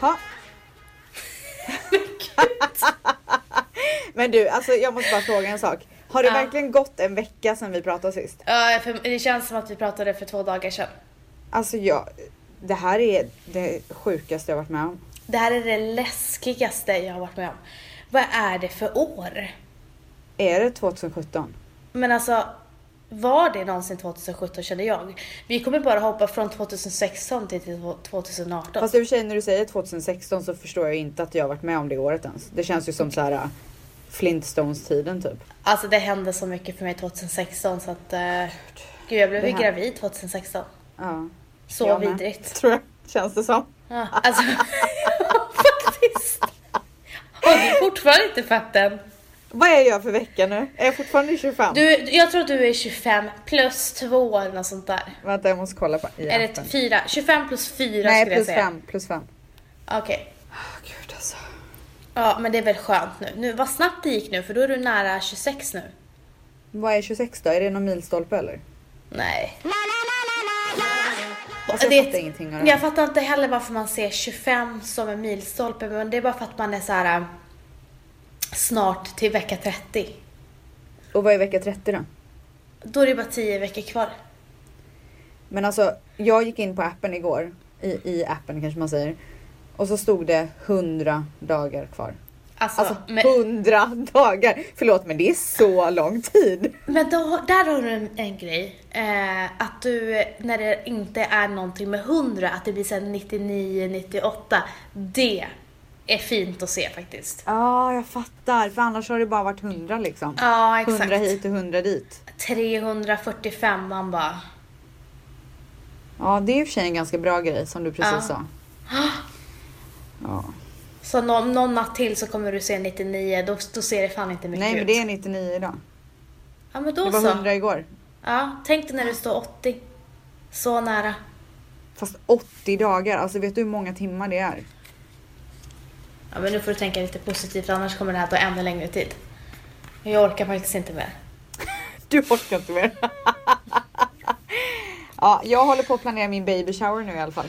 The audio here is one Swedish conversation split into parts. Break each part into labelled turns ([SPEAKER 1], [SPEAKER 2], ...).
[SPEAKER 1] Ha. Men du, alltså jag måste bara fråga en sak. Har det
[SPEAKER 2] Ja.
[SPEAKER 1] verkligen gått en vecka sedan vi pratade sist?
[SPEAKER 2] Ja, för det känns som att vi pratade för två dagar sedan.
[SPEAKER 1] Alltså jag, det här är det sjukaste jag varit med om.
[SPEAKER 2] Det här är det läskigaste jag har varit med om. Vad är det för år?
[SPEAKER 1] Är det 2017?
[SPEAKER 2] Men alltså, var det någonsin 2017 kände jag? Vi kommer bara hoppa från 2016 till 2018.
[SPEAKER 1] Fast i och för sig när du säger 2016 så förstår jag inte att jag har varit med om det året ens. Det känns ju som så här äh, Flintstones-tiden typ.
[SPEAKER 2] Alltså det hände så mycket för mig 2016 så att... eh, gud jag blev
[SPEAKER 1] Det
[SPEAKER 2] ju
[SPEAKER 1] här-
[SPEAKER 2] gravid 2016.
[SPEAKER 1] Ja.
[SPEAKER 2] Så
[SPEAKER 1] Jag med.
[SPEAKER 2] vidrigt.
[SPEAKER 1] Tror jag. Känns det som.
[SPEAKER 2] Ja, alltså faktiskt. Har du fortfarande inte fött den?
[SPEAKER 1] Vad är jag för vecka nu? Är jag fortfarande 25?
[SPEAKER 2] Du, jag tror att du är 25 plus 2 eller något sånt där.
[SPEAKER 1] Vänta jag måste kolla på i
[SPEAKER 2] Är
[SPEAKER 1] appen.
[SPEAKER 2] det 4? 25 plus 4
[SPEAKER 1] Nej
[SPEAKER 2] skulle jag
[SPEAKER 1] plus
[SPEAKER 2] säga.
[SPEAKER 1] 5, plus 5.
[SPEAKER 2] Okej.
[SPEAKER 1] Oh, gud alltså.
[SPEAKER 2] Ja men det är väl skönt nu. nu. Vad snabbt det gick nu för då är du nära 26 nu.
[SPEAKER 1] Vad är 26 då? Är det någon milstolpe eller?
[SPEAKER 2] Nej.
[SPEAKER 1] Alltså, Mm, jag
[SPEAKER 2] Det är
[SPEAKER 1] fattar
[SPEAKER 2] ett-
[SPEAKER 1] ingenting av det här.
[SPEAKER 2] Jag fattar inte heller varför man ser 25 som en milstolpe men det är bara för att man är så här äh, snart till vecka 30.
[SPEAKER 1] Och vad är vecka 30 då?
[SPEAKER 2] Då är det bara 10 veckor kvar.
[SPEAKER 1] Men alltså, jag gick in på appen igår. I, i appen kanske man säger. Och så stod det 100 dagar kvar.
[SPEAKER 2] Alltså,
[SPEAKER 1] Alltså
[SPEAKER 2] men,
[SPEAKER 1] 100 dagar! Förlåt men det är så lång tid.
[SPEAKER 2] men då, där har du en, en grej. Eh, att du, när det inte är någonting med 100, att det blir sen 99, 98. Det är fint att se faktiskt.
[SPEAKER 1] Ja, jag fattar. För annars har det bara varit 100 liksom.
[SPEAKER 2] Ja,
[SPEAKER 1] 100
[SPEAKER 2] exakt.
[SPEAKER 1] hit och 100 dit.
[SPEAKER 2] 345 man bara.
[SPEAKER 1] Ja, det är i och för sig en ganska bra grej som du precis
[SPEAKER 2] Ja.
[SPEAKER 1] sa. Ja.
[SPEAKER 2] Så någon, någon natt till så kommer du se 99, då, då ser det fan inte mycket
[SPEAKER 1] Nej, men
[SPEAKER 2] ut.
[SPEAKER 1] det är 99 idag.
[SPEAKER 2] Ja men
[SPEAKER 1] Det
[SPEAKER 2] då
[SPEAKER 1] var
[SPEAKER 2] så.
[SPEAKER 1] 100 igår.
[SPEAKER 2] Ja, tänk dig när du står 80. Så nära.
[SPEAKER 1] Fast 80 dagar, alltså vet du hur många timmar det är?
[SPEAKER 2] Ja men nu får du tänka lite positivt annars kommer det här ta ännu längre tid. Men Jag orkar faktiskt inte mer.
[SPEAKER 1] Du orkar inte mer. ja, jag håller på att planera min baby shower nu i alla fall.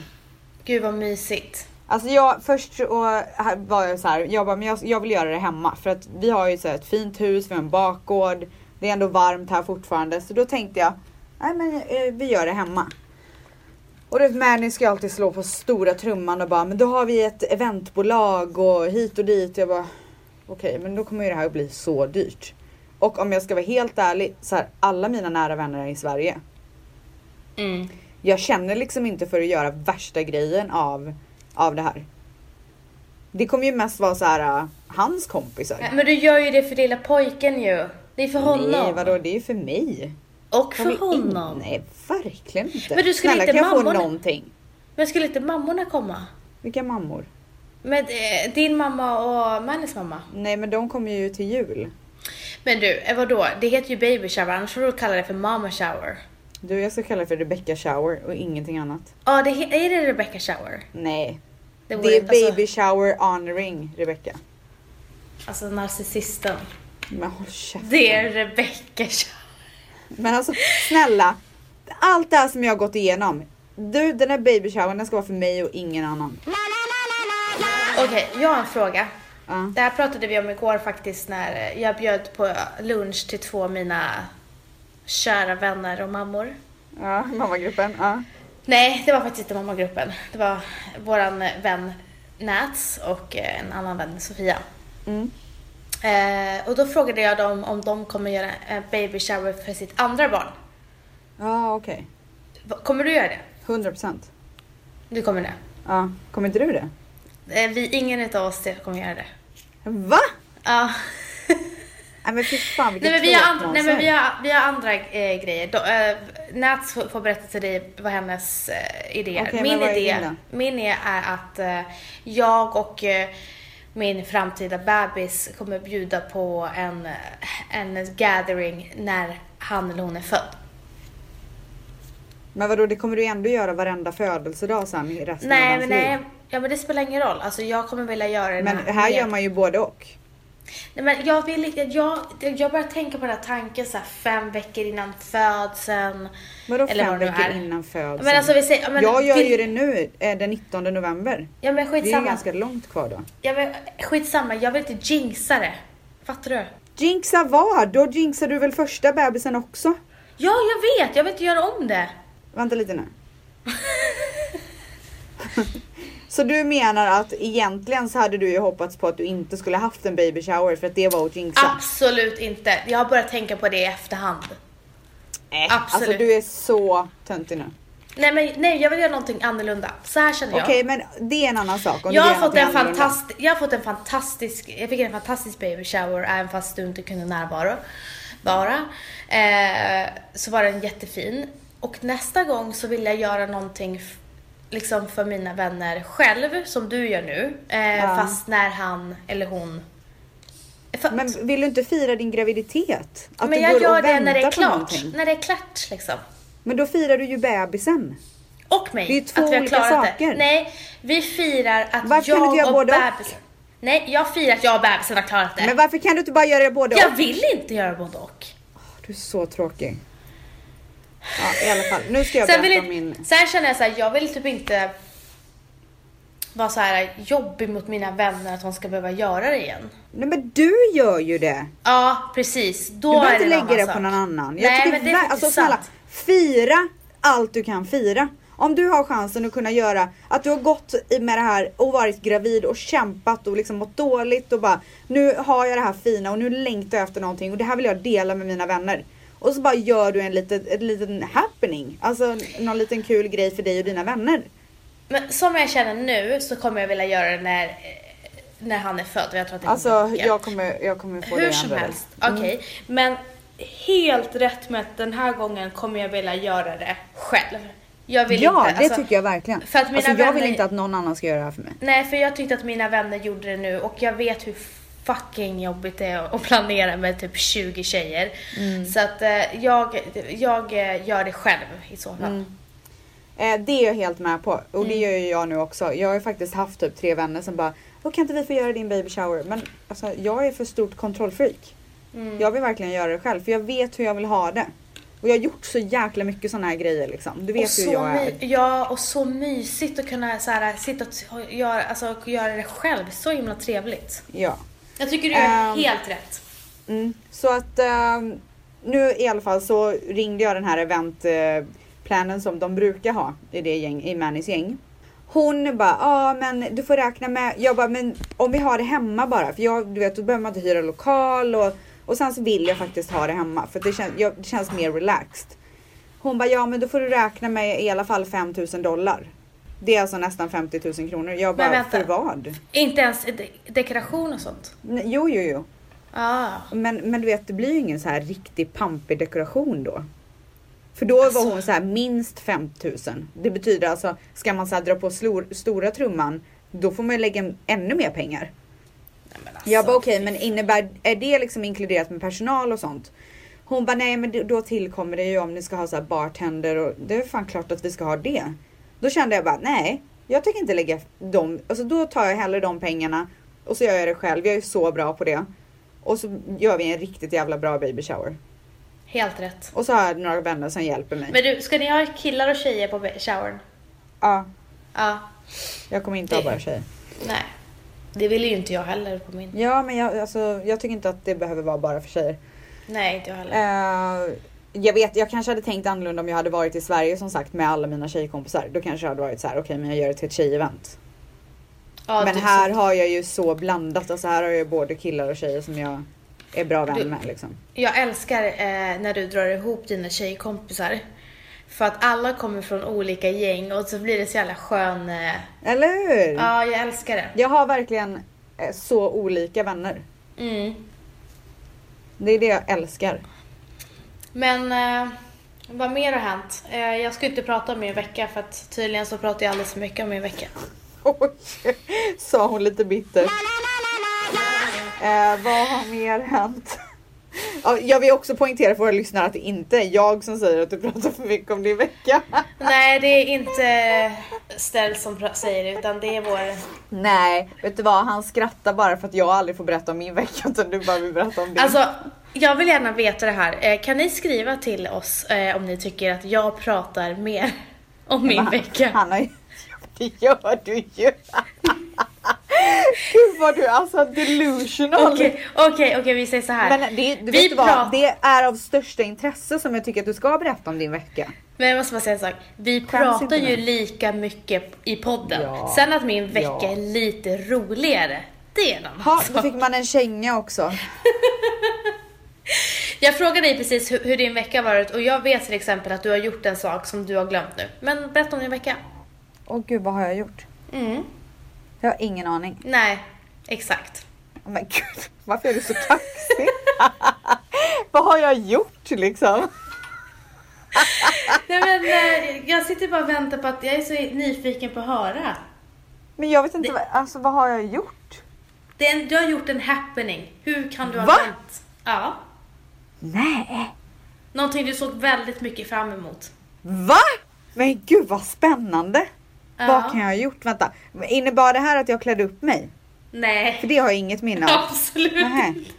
[SPEAKER 2] Gud vad mysigt.
[SPEAKER 1] Alltså jag först och här var jag så här, jag bara men jag, jag vill göra det hemma för att vi har ju så här ett fint hus, vi har en bakgård. Det är ändå varmt här fortfarande så då tänkte jag, nej men eh, vi gör det hemma. Och du vet Mani ska ju alltid slå på stora trumman och bara men då har vi ett eventbolag och hit och dit. Jag bara okej men då kommer ju det här att bli så dyrt. Och om jag ska vara helt ärlig så här alla mina nära vänner är i Sverige.
[SPEAKER 2] Mm.
[SPEAKER 1] Jag känner liksom inte för att göra värsta grejen av, av det här. Det kommer ju mest vara så här äh, hans kompisar.
[SPEAKER 2] Nej, Men du gör ju det för lilla pojken ju. Det är för honom.
[SPEAKER 1] Nej vadå, det är ju för mig.
[SPEAKER 2] Och
[SPEAKER 1] Jag
[SPEAKER 2] för
[SPEAKER 1] vill
[SPEAKER 2] honom.
[SPEAKER 1] In... Nej verkligen inte.
[SPEAKER 2] Men du skulle
[SPEAKER 1] Snälla
[SPEAKER 2] inte
[SPEAKER 1] kan jag få
[SPEAKER 2] mammorna-
[SPEAKER 1] någonting?
[SPEAKER 2] Men skulle inte mammorna komma?
[SPEAKER 1] Vilka mammor?
[SPEAKER 2] Med eh, din mamma och Mannys mamma?
[SPEAKER 1] Nej men de kommer ju till jul.
[SPEAKER 2] Men du, eh, vadå? Det heter ju baby shower, annars får du kalla det för mama shower.
[SPEAKER 1] Du jag ska kalla det för Rebecca shower och ingenting annat.
[SPEAKER 2] Ja, det he- är det Rebecca shower?
[SPEAKER 1] Nej. Det,
[SPEAKER 2] vore-
[SPEAKER 1] är baby shower honoring Rebecca.
[SPEAKER 2] Alltså, alltså narcissisten.
[SPEAKER 1] Men håll käften.
[SPEAKER 2] Det är Rebecca shower.
[SPEAKER 1] Men alltså snälla. Allt det här som jag har gått igenom. Du den här baby showern den ska vara för mig och ingen annan.
[SPEAKER 2] Okej, jag har en fråga.
[SPEAKER 1] Ja.
[SPEAKER 2] Det här pratade vi om igår faktiskt när jag bjöd på lunch till två av mina kära vänner och mammor.
[SPEAKER 1] Ja, mammagruppen. Ja.
[SPEAKER 2] Nej, det var faktiskt inte mammagruppen. Det var våran vän Nats och eh, en annan vän Sofia.
[SPEAKER 1] Mm.
[SPEAKER 2] Eh, och då frågade jag dem om de kommer göra en baby shower för sitt andra barn.
[SPEAKER 1] Ja, okej.
[SPEAKER 2] Va- Kommer du göra det?
[SPEAKER 1] 100 procent.
[SPEAKER 2] Du kommer det.
[SPEAKER 1] Ja, kommer inte du det?
[SPEAKER 2] Eh, vi, ingen av oss kommer göra det.
[SPEAKER 1] Va?
[SPEAKER 2] Ja.
[SPEAKER 1] Nej men fy fan vilket
[SPEAKER 2] Nej men, vi har, andra,
[SPEAKER 1] tråkmånsar.
[SPEAKER 2] nej men vi har, vi har andra eh, grejer. Då, eh, Nats får, får berätta till dig vad hennes eh, idé är.
[SPEAKER 1] Okej, men
[SPEAKER 2] min,
[SPEAKER 1] vad är
[SPEAKER 2] idé,
[SPEAKER 1] din
[SPEAKER 2] min idé är att eh, jag och eh, min framtida bebis kommer bjuda på en, en gathering när han eller hon är född.
[SPEAKER 1] Men vadå, det kommer du ändå göra varenda födelsedag sen i resten
[SPEAKER 2] Nej
[SPEAKER 1] av
[SPEAKER 2] men,
[SPEAKER 1] hans
[SPEAKER 2] nej,
[SPEAKER 1] liv.
[SPEAKER 2] ja, men det spelar ingen roll. Alltså, jag kommer vilja göra den
[SPEAKER 1] Men här gör man ju både och.
[SPEAKER 2] Nej, men jag, vill, inte- jag, jag börjar tänka på den här tanken så här, fem veckor innan födseln.
[SPEAKER 1] Vadå
[SPEAKER 2] Eller
[SPEAKER 1] fem
[SPEAKER 2] vad det nu
[SPEAKER 1] veckor
[SPEAKER 2] är.
[SPEAKER 1] innan födseln?
[SPEAKER 2] Men alltså, vi säger, ja, men,
[SPEAKER 1] jag gör
[SPEAKER 2] till-
[SPEAKER 1] ju det nu, eh, den 19 november.
[SPEAKER 2] Ja men
[SPEAKER 1] Det är ju
[SPEAKER 2] skitsamma.
[SPEAKER 1] ganska långt kvar då.
[SPEAKER 2] ja, men, skitsamma, jag vill inte jinxa det. Fattar du?
[SPEAKER 1] Jinxa vad? Då jinxar du väl första bebisen också?
[SPEAKER 2] Ja, jag vet! Jag vill inte göra om det.
[SPEAKER 1] Vänta lite nu. så du menar att egentligen så hade du ju hoppats på att du inte skulle haft en baby shower för att det var att jinxa?
[SPEAKER 2] Absolut inte. Jag har börjat tänka på det i efterhand.
[SPEAKER 1] Nej,
[SPEAKER 2] absolut.
[SPEAKER 1] Alltså du är så töntig nu.
[SPEAKER 2] Nej, men nej, jag vill göra någonting annorlunda. Så här känner jag.
[SPEAKER 1] Okej men det är en annan sak. om
[SPEAKER 2] Jag
[SPEAKER 1] du gör
[SPEAKER 2] har, fått
[SPEAKER 1] någonting
[SPEAKER 2] en
[SPEAKER 1] annorlunda.
[SPEAKER 2] fantast, jag har fått en fantastisk, jag fick en fantastisk baby shower även fast du inte kunde närvara. Bara. Eh, så var den jättefin. Och nästa gång så vill jag göra någonting f- liksom för mina vänner själv, som du gör nu. Eh,
[SPEAKER 1] Ja.
[SPEAKER 2] Fast när han eller hon är född. Men,
[SPEAKER 1] Men vill du inte fira din graviditet? Att du
[SPEAKER 2] jag
[SPEAKER 1] går
[SPEAKER 2] gör
[SPEAKER 1] och
[SPEAKER 2] det när
[SPEAKER 1] väntar
[SPEAKER 2] det är
[SPEAKER 1] på
[SPEAKER 2] klart.
[SPEAKER 1] någonting.
[SPEAKER 2] När det är klart liksom.
[SPEAKER 1] Men då firar du ju bebisen.
[SPEAKER 2] Och mig.
[SPEAKER 1] Det är ju två
[SPEAKER 2] att vi har
[SPEAKER 1] olika
[SPEAKER 2] klarat
[SPEAKER 1] saker.
[SPEAKER 2] Det. Nej, vi firar att
[SPEAKER 1] Varför kan
[SPEAKER 2] jag
[SPEAKER 1] du inte göra
[SPEAKER 2] och
[SPEAKER 1] både och?
[SPEAKER 2] bebisen... Nej, jag firar att jag och bebisen har klarat det.
[SPEAKER 1] Men varför kan du inte bara göra det både
[SPEAKER 2] Jag
[SPEAKER 1] och?
[SPEAKER 2] vill inte göra både och.
[SPEAKER 1] Du är så tråkig. Ja, i alla fall. Nu ska jag
[SPEAKER 2] Sen,
[SPEAKER 1] berätta
[SPEAKER 2] vill
[SPEAKER 1] om min...
[SPEAKER 2] jag, sen känner jag så här, jag vill typ inte vara så här jobbig mot mina vänner att de ska behöva göra det igen.
[SPEAKER 1] Nej men du gör ju det.
[SPEAKER 2] Ja, precis. Då
[SPEAKER 1] Du behöver
[SPEAKER 2] är
[SPEAKER 1] inte
[SPEAKER 2] det en
[SPEAKER 1] lägga
[SPEAKER 2] annan
[SPEAKER 1] det
[SPEAKER 2] sak.
[SPEAKER 1] på någon annan. Jag
[SPEAKER 2] Nej,
[SPEAKER 1] tycker
[SPEAKER 2] men det är
[SPEAKER 1] ver-
[SPEAKER 2] faktiskt
[SPEAKER 1] alltså, snälla,
[SPEAKER 2] sant.
[SPEAKER 1] fira allt du kan fira. Om du har chansen att kunna göra att du har gått i- med det här och varit gravid och kämpat och liksom mått dåligt och bara nu har jag det här fina och nu längtar jag efter någonting och det här vill jag dela med mina vänner. Och så bara gör du en liten, ett liten happening, alltså någon liten kul grej för dig och dina vänner.
[SPEAKER 2] Men som jag känner nu så kommer jag vilja göra det när, eh, när han är född. och Jag tror att det
[SPEAKER 1] Alltså
[SPEAKER 2] kommer bli-
[SPEAKER 1] jag kommer, jag kommer få det
[SPEAKER 2] Hur
[SPEAKER 1] i
[SPEAKER 2] som
[SPEAKER 1] andra Mm.
[SPEAKER 2] helst,
[SPEAKER 1] väg.
[SPEAKER 2] okej. Men helt rätt med att den här gången kommer jag vilja göra det själv. Jag vill
[SPEAKER 1] Ja,
[SPEAKER 2] inte,
[SPEAKER 1] det
[SPEAKER 2] alltså-
[SPEAKER 1] tycker jag verkligen.
[SPEAKER 2] för att mina
[SPEAKER 1] alltså, jag vill
[SPEAKER 2] vänner-
[SPEAKER 1] inte att någon annan ska göra det här för mig.
[SPEAKER 2] Nej, för jag tyckte att mina vänner gjorde det nu och jag vet hur fucking jobbigt det är att planera med typ 20 tjejer. Så att eh, jag, jag eh, gör det själv i så fall.
[SPEAKER 1] Mm. Eh, det är jag helt med på och
[SPEAKER 2] Mm.
[SPEAKER 1] det gör ju jag nu också. Jag har ju faktiskt haft typ tre vänner som bara "Åh, kan inte vi få göra din baby shower? Men alltså, jag är för stort kontrollfreak.
[SPEAKER 2] Mm.
[SPEAKER 1] Jag vill verkligen göra det själv för jag vet hur jag vill ha det. Och jag har gjort så jäkla mycket sådana här grejer liksom. Du
[SPEAKER 2] och
[SPEAKER 1] vet
[SPEAKER 2] så
[SPEAKER 1] ju hur jag är.
[SPEAKER 2] my- Ja, och så mysigt att kunna så här, sitta och t- och göra, alltså, och göra det själv. Så himla trevligt.
[SPEAKER 1] Ja.
[SPEAKER 2] Jag tycker du gör
[SPEAKER 1] Ehm.
[SPEAKER 2] helt rätt.
[SPEAKER 1] Mm. Så att ehm, nu i alla fall så ringde jag den här eventplanen som de brukar ha i det gäng, i Mannys gäng. Hon bara, ja men du får räkna med, jag bara men om vi har det hemma bara för jag, du vet då behöver man inte hyra lokal och, och sen så vill jag faktiskt ha det hemma för att det, kän, jag, det känns mer relaxed. Hon bara, ja men då får du räkna med i alla fall 5000 dollar. Det är alltså nästan 50 000 kronor. Jag
[SPEAKER 2] Men
[SPEAKER 1] bara,
[SPEAKER 2] vänta.
[SPEAKER 1] för vad?
[SPEAKER 2] Inte ens de- dekoration och sånt.
[SPEAKER 1] Nej, Jo, jo, jo.
[SPEAKER 2] Ah.
[SPEAKER 1] Men, men du vet, det blir ju ingen så här riktig pampig dekoration då. För då
[SPEAKER 2] Alltså.
[SPEAKER 1] var hon så här minst 5000. Det betyder alltså, ska man så här dra på slor, stora trumman, då får man ju lägga in ännu mer pengar.
[SPEAKER 2] Nej, men alltså.
[SPEAKER 1] Jag bara okej, men innebär, är det liksom inkluderat med personal och sånt? Hon bara nej, men det- då tillkommer det ju om ni ska ha så här bartender och det är fan klart att vi ska ha det. Då kände jag bara nej, jag tänker inte lägga dem, alltså då tar jag hellre de pengarna och så gör jag det själv. Jag är ju så bra på det. Och så gör vi en riktigt jävla bra baby shower.
[SPEAKER 2] Helt rätt.
[SPEAKER 1] Och så har jag några vänner som hjälper mig.
[SPEAKER 2] Men du, ska ni ha killar och tjejer på be- showern?
[SPEAKER 1] Ja,
[SPEAKER 2] Ja.
[SPEAKER 1] jag kommer inte ha bara tjejer.
[SPEAKER 2] Nej. Det ville ju inte jag heller på min.
[SPEAKER 1] Ja, men jag, alltså, jag tycker inte att det behöver vara bara för tjejer.
[SPEAKER 2] Nej, inte jag heller.
[SPEAKER 1] Eh, jag vet, jag kanske hade tänkt annorlunda om jag hade varit i Sverige som sagt med alla mina tjejkompisar. Då kanske jag hade varit så här, okej men jag gör det till ett tjejevent.
[SPEAKER 2] Ja, typ
[SPEAKER 1] men
[SPEAKER 2] du-
[SPEAKER 1] här har jag ju så blandat, alltså här har jag ju både killar och tjejer som jag är bra
[SPEAKER 2] Du-
[SPEAKER 1] vän med liksom.
[SPEAKER 2] Jag älskar eh, när du drar ihop dina tjejkompisar. För att alla kommer från olika gäng och så blir det så jävla skön... Eh...
[SPEAKER 1] Eller hur?
[SPEAKER 2] Ja, jag älskar det.
[SPEAKER 1] Jag har verkligen eh, så olika vänner.
[SPEAKER 2] Mm.
[SPEAKER 1] Det är det jag älskar.
[SPEAKER 2] Men eh, vad mer har hänt? Eh, jag ska inte prata om min vecka för att tydligen så pratar jag alldeles för mycket om min vecka.
[SPEAKER 1] Oj, sa hon lite bittert. Eh, vad har mer hänt? Ja, jag vill också poängtera för våra lyssnare att det inte är jag som säger att du pratar för mycket om din vecka.
[SPEAKER 2] Nej, det är inte Stell som pra- säger det, utan det är vår...
[SPEAKER 1] Nej, vet du vad? Han skrattar bara för att jag aldrig får berätta om min vecka utan du bara vill berätta om din.
[SPEAKER 2] Alltså, jag vill gärna veta det här. Eh, Kan ni skriva till oss eh, om ni tycker att jag pratar mer om min vecka?
[SPEAKER 1] Han har ju... Det gör du ju! Gud vad du är alltså delusional!
[SPEAKER 2] Okej, okej, okej, vi säger så här.
[SPEAKER 1] Men det, du
[SPEAKER 2] Vi
[SPEAKER 1] vet vad,
[SPEAKER 2] pratar-
[SPEAKER 1] det är av största intresse som jag tycker att du ska berätta om din vecka.
[SPEAKER 2] Men jag måste bara säga en sak. Vi
[SPEAKER 1] inte nu.
[SPEAKER 2] pratar ju lika mycket i podden.
[SPEAKER 1] Ja.
[SPEAKER 2] Sen att min vecka
[SPEAKER 1] Ja.
[SPEAKER 2] är lite roligare, det är en annan
[SPEAKER 1] Ha, då
[SPEAKER 2] sak.
[SPEAKER 1] fick man en känga också.
[SPEAKER 2] Jag frågade dig precis hur, hur din vecka har varit och jag vet till exempel att du har gjort en sak som du har glömt nu. Men berätta om din vecka.
[SPEAKER 1] Åh gud, vad har jag gjort?
[SPEAKER 2] Mm.
[SPEAKER 1] Jag har ingen aning.
[SPEAKER 2] Nej, exakt.
[SPEAKER 1] Men gud, varför är du så kaxig? Vad har jag gjort liksom?
[SPEAKER 2] Nej, men, eh, jag sitter bara och väntar på att jag är så nyfiken på att höra.
[SPEAKER 1] Men jag vet inte, vad, alltså vad har jag gjort?
[SPEAKER 2] Det är en, du har gjort en happening. Hur kan du ha
[SPEAKER 1] Va?
[SPEAKER 2] glömt? Ja.
[SPEAKER 1] Nej.
[SPEAKER 2] Någonting du såg väldigt mycket fram emot.
[SPEAKER 1] Va? Men gud vad spännande.
[SPEAKER 2] Ja.
[SPEAKER 1] Vad kan jag ha gjort? Vänta, innebar det här att jag klädde upp mig? För
[SPEAKER 2] Nej,
[SPEAKER 1] det har jag inget minne av.
[SPEAKER 2] absolut
[SPEAKER 1] Nähä.
[SPEAKER 2] inte.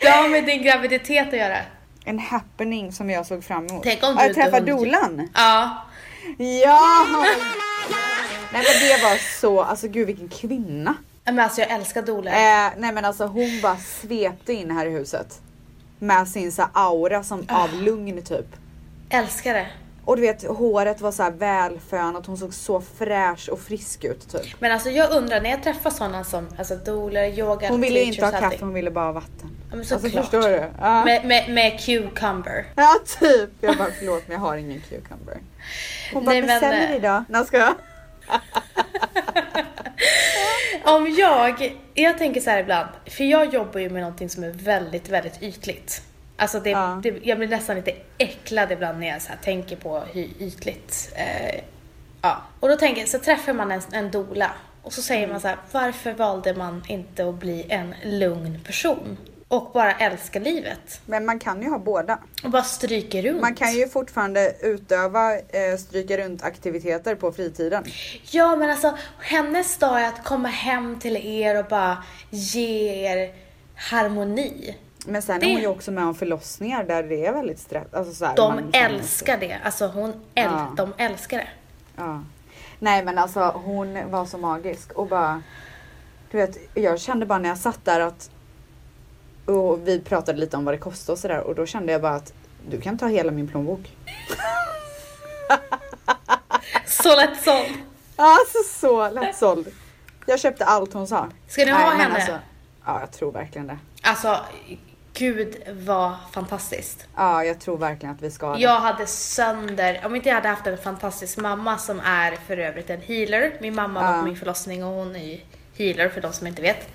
[SPEAKER 2] Det har med din graviditet att göra.
[SPEAKER 1] En happening som jag såg fram emot.
[SPEAKER 2] Tänk om
[SPEAKER 1] Ja,
[SPEAKER 2] du
[SPEAKER 1] jag
[SPEAKER 2] inte
[SPEAKER 1] träffade
[SPEAKER 2] hunnit.
[SPEAKER 1] Dolan.
[SPEAKER 2] Ja.
[SPEAKER 1] Ja! Nej men det var så, alltså gud vilken kvinna.
[SPEAKER 2] Men alltså jag älskar Dola.
[SPEAKER 1] Eh, nej men alltså hon bara svepte in här i huset. Med sin så här aura som
[SPEAKER 2] Ah.
[SPEAKER 1] av lugn typ.
[SPEAKER 2] Älskar det.
[SPEAKER 1] Och du vet håret var så här välfönat, hon såg så fräsch och frisk ut typ.
[SPEAKER 2] Men alltså jag undrar när jag träffar sådana som alltså dolar, yoga,
[SPEAKER 1] Hon ville ju inte
[SPEAKER 2] teachers,
[SPEAKER 1] ha kaffe,
[SPEAKER 2] allting.
[SPEAKER 1] hon ville bara ha vatten.
[SPEAKER 2] Ja, men såklart.
[SPEAKER 1] alltså förstår du? Ja.
[SPEAKER 2] Med, med, med cucumber.
[SPEAKER 1] Ja typ. Jag bara förlåt men jag har ingen cucumber. Hon bara
[SPEAKER 2] Nej, men,
[SPEAKER 1] beställer
[SPEAKER 2] eh,
[SPEAKER 1] idag. Nej ska jag?
[SPEAKER 2] Om jag, jag tänker så här ibland, för jag jobbar ju med någonting som är väldigt, väldigt ytligt. Alltså det,
[SPEAKER 1] Ja.
[SPEAKER 2] det, jag blir nästan lite äcklad ibland när jag så här tänker på hur ytligt. Eh, ja. Och då tänker jag, så träffar man en, en dola och så säger
[SPEAKER 1] Mm.
[SPEAKER 2] man så här, varför valde man inte att bli en lugn person? Och bara älska livet.
[SPEAKER 1] Men man kan ju ha båda.
[SPEAKER 2] Och bara stryker runt.
[SPEAKER 1] Man kan ju fortfarande utöva eh, stryka runt aktiviteter på fritiden.
[SPEAKER 2] Ja men alltså hennes dag är att komma hem till er och bara ge er harmoni.
[SPEAKER 1] Men sen
[SPEAKER 2] Det-
[SPEAKER 1] är hon ju också med om förlossningar där det är väldigt stress. Alltså så här,
[SPEAKER 2] De
[SPEAKER 1] man känner sig-
[SPEAKER 2] älskar det. Alltså hon äl-
[SPEAKER 1] Ja.
[SPEAKER 2] de älskar det.
[SPEAKER 1] Ja. Nej men alltså hon var så magisk och bara Du vet, jag kände bara när jag satt där att Och vi pratade lite om vad det kostade och sådär och då kände jag bara att Du kan ta hela min plånbok.
[SPEAKER 2] Så lätt såld.
[SPEAKER 1] Alltså så lättsåld. Jag köpte allt hon sa.
[SPEAKER 2] Ska ni ha
[SPEAKER 1] men
[SPEAKER 2] henne?
[SPEAKER 1] alltså, ja jag tror verkligen det.
[SPEAKER 2] Alltså gud vad fantastiskt.
[SPEAKER 1] Ja jag tror verkligen att vi ska ha det.
[SPEAKER 2] Jag hade sönder, om inte jag hade haft en fantastisk mamma som är för övrigt en healer. Min mamma var
[SPEAKER 1] Ja.
[SPEAKER 2] på min förlossning och hon är ju healer för de som inte vet.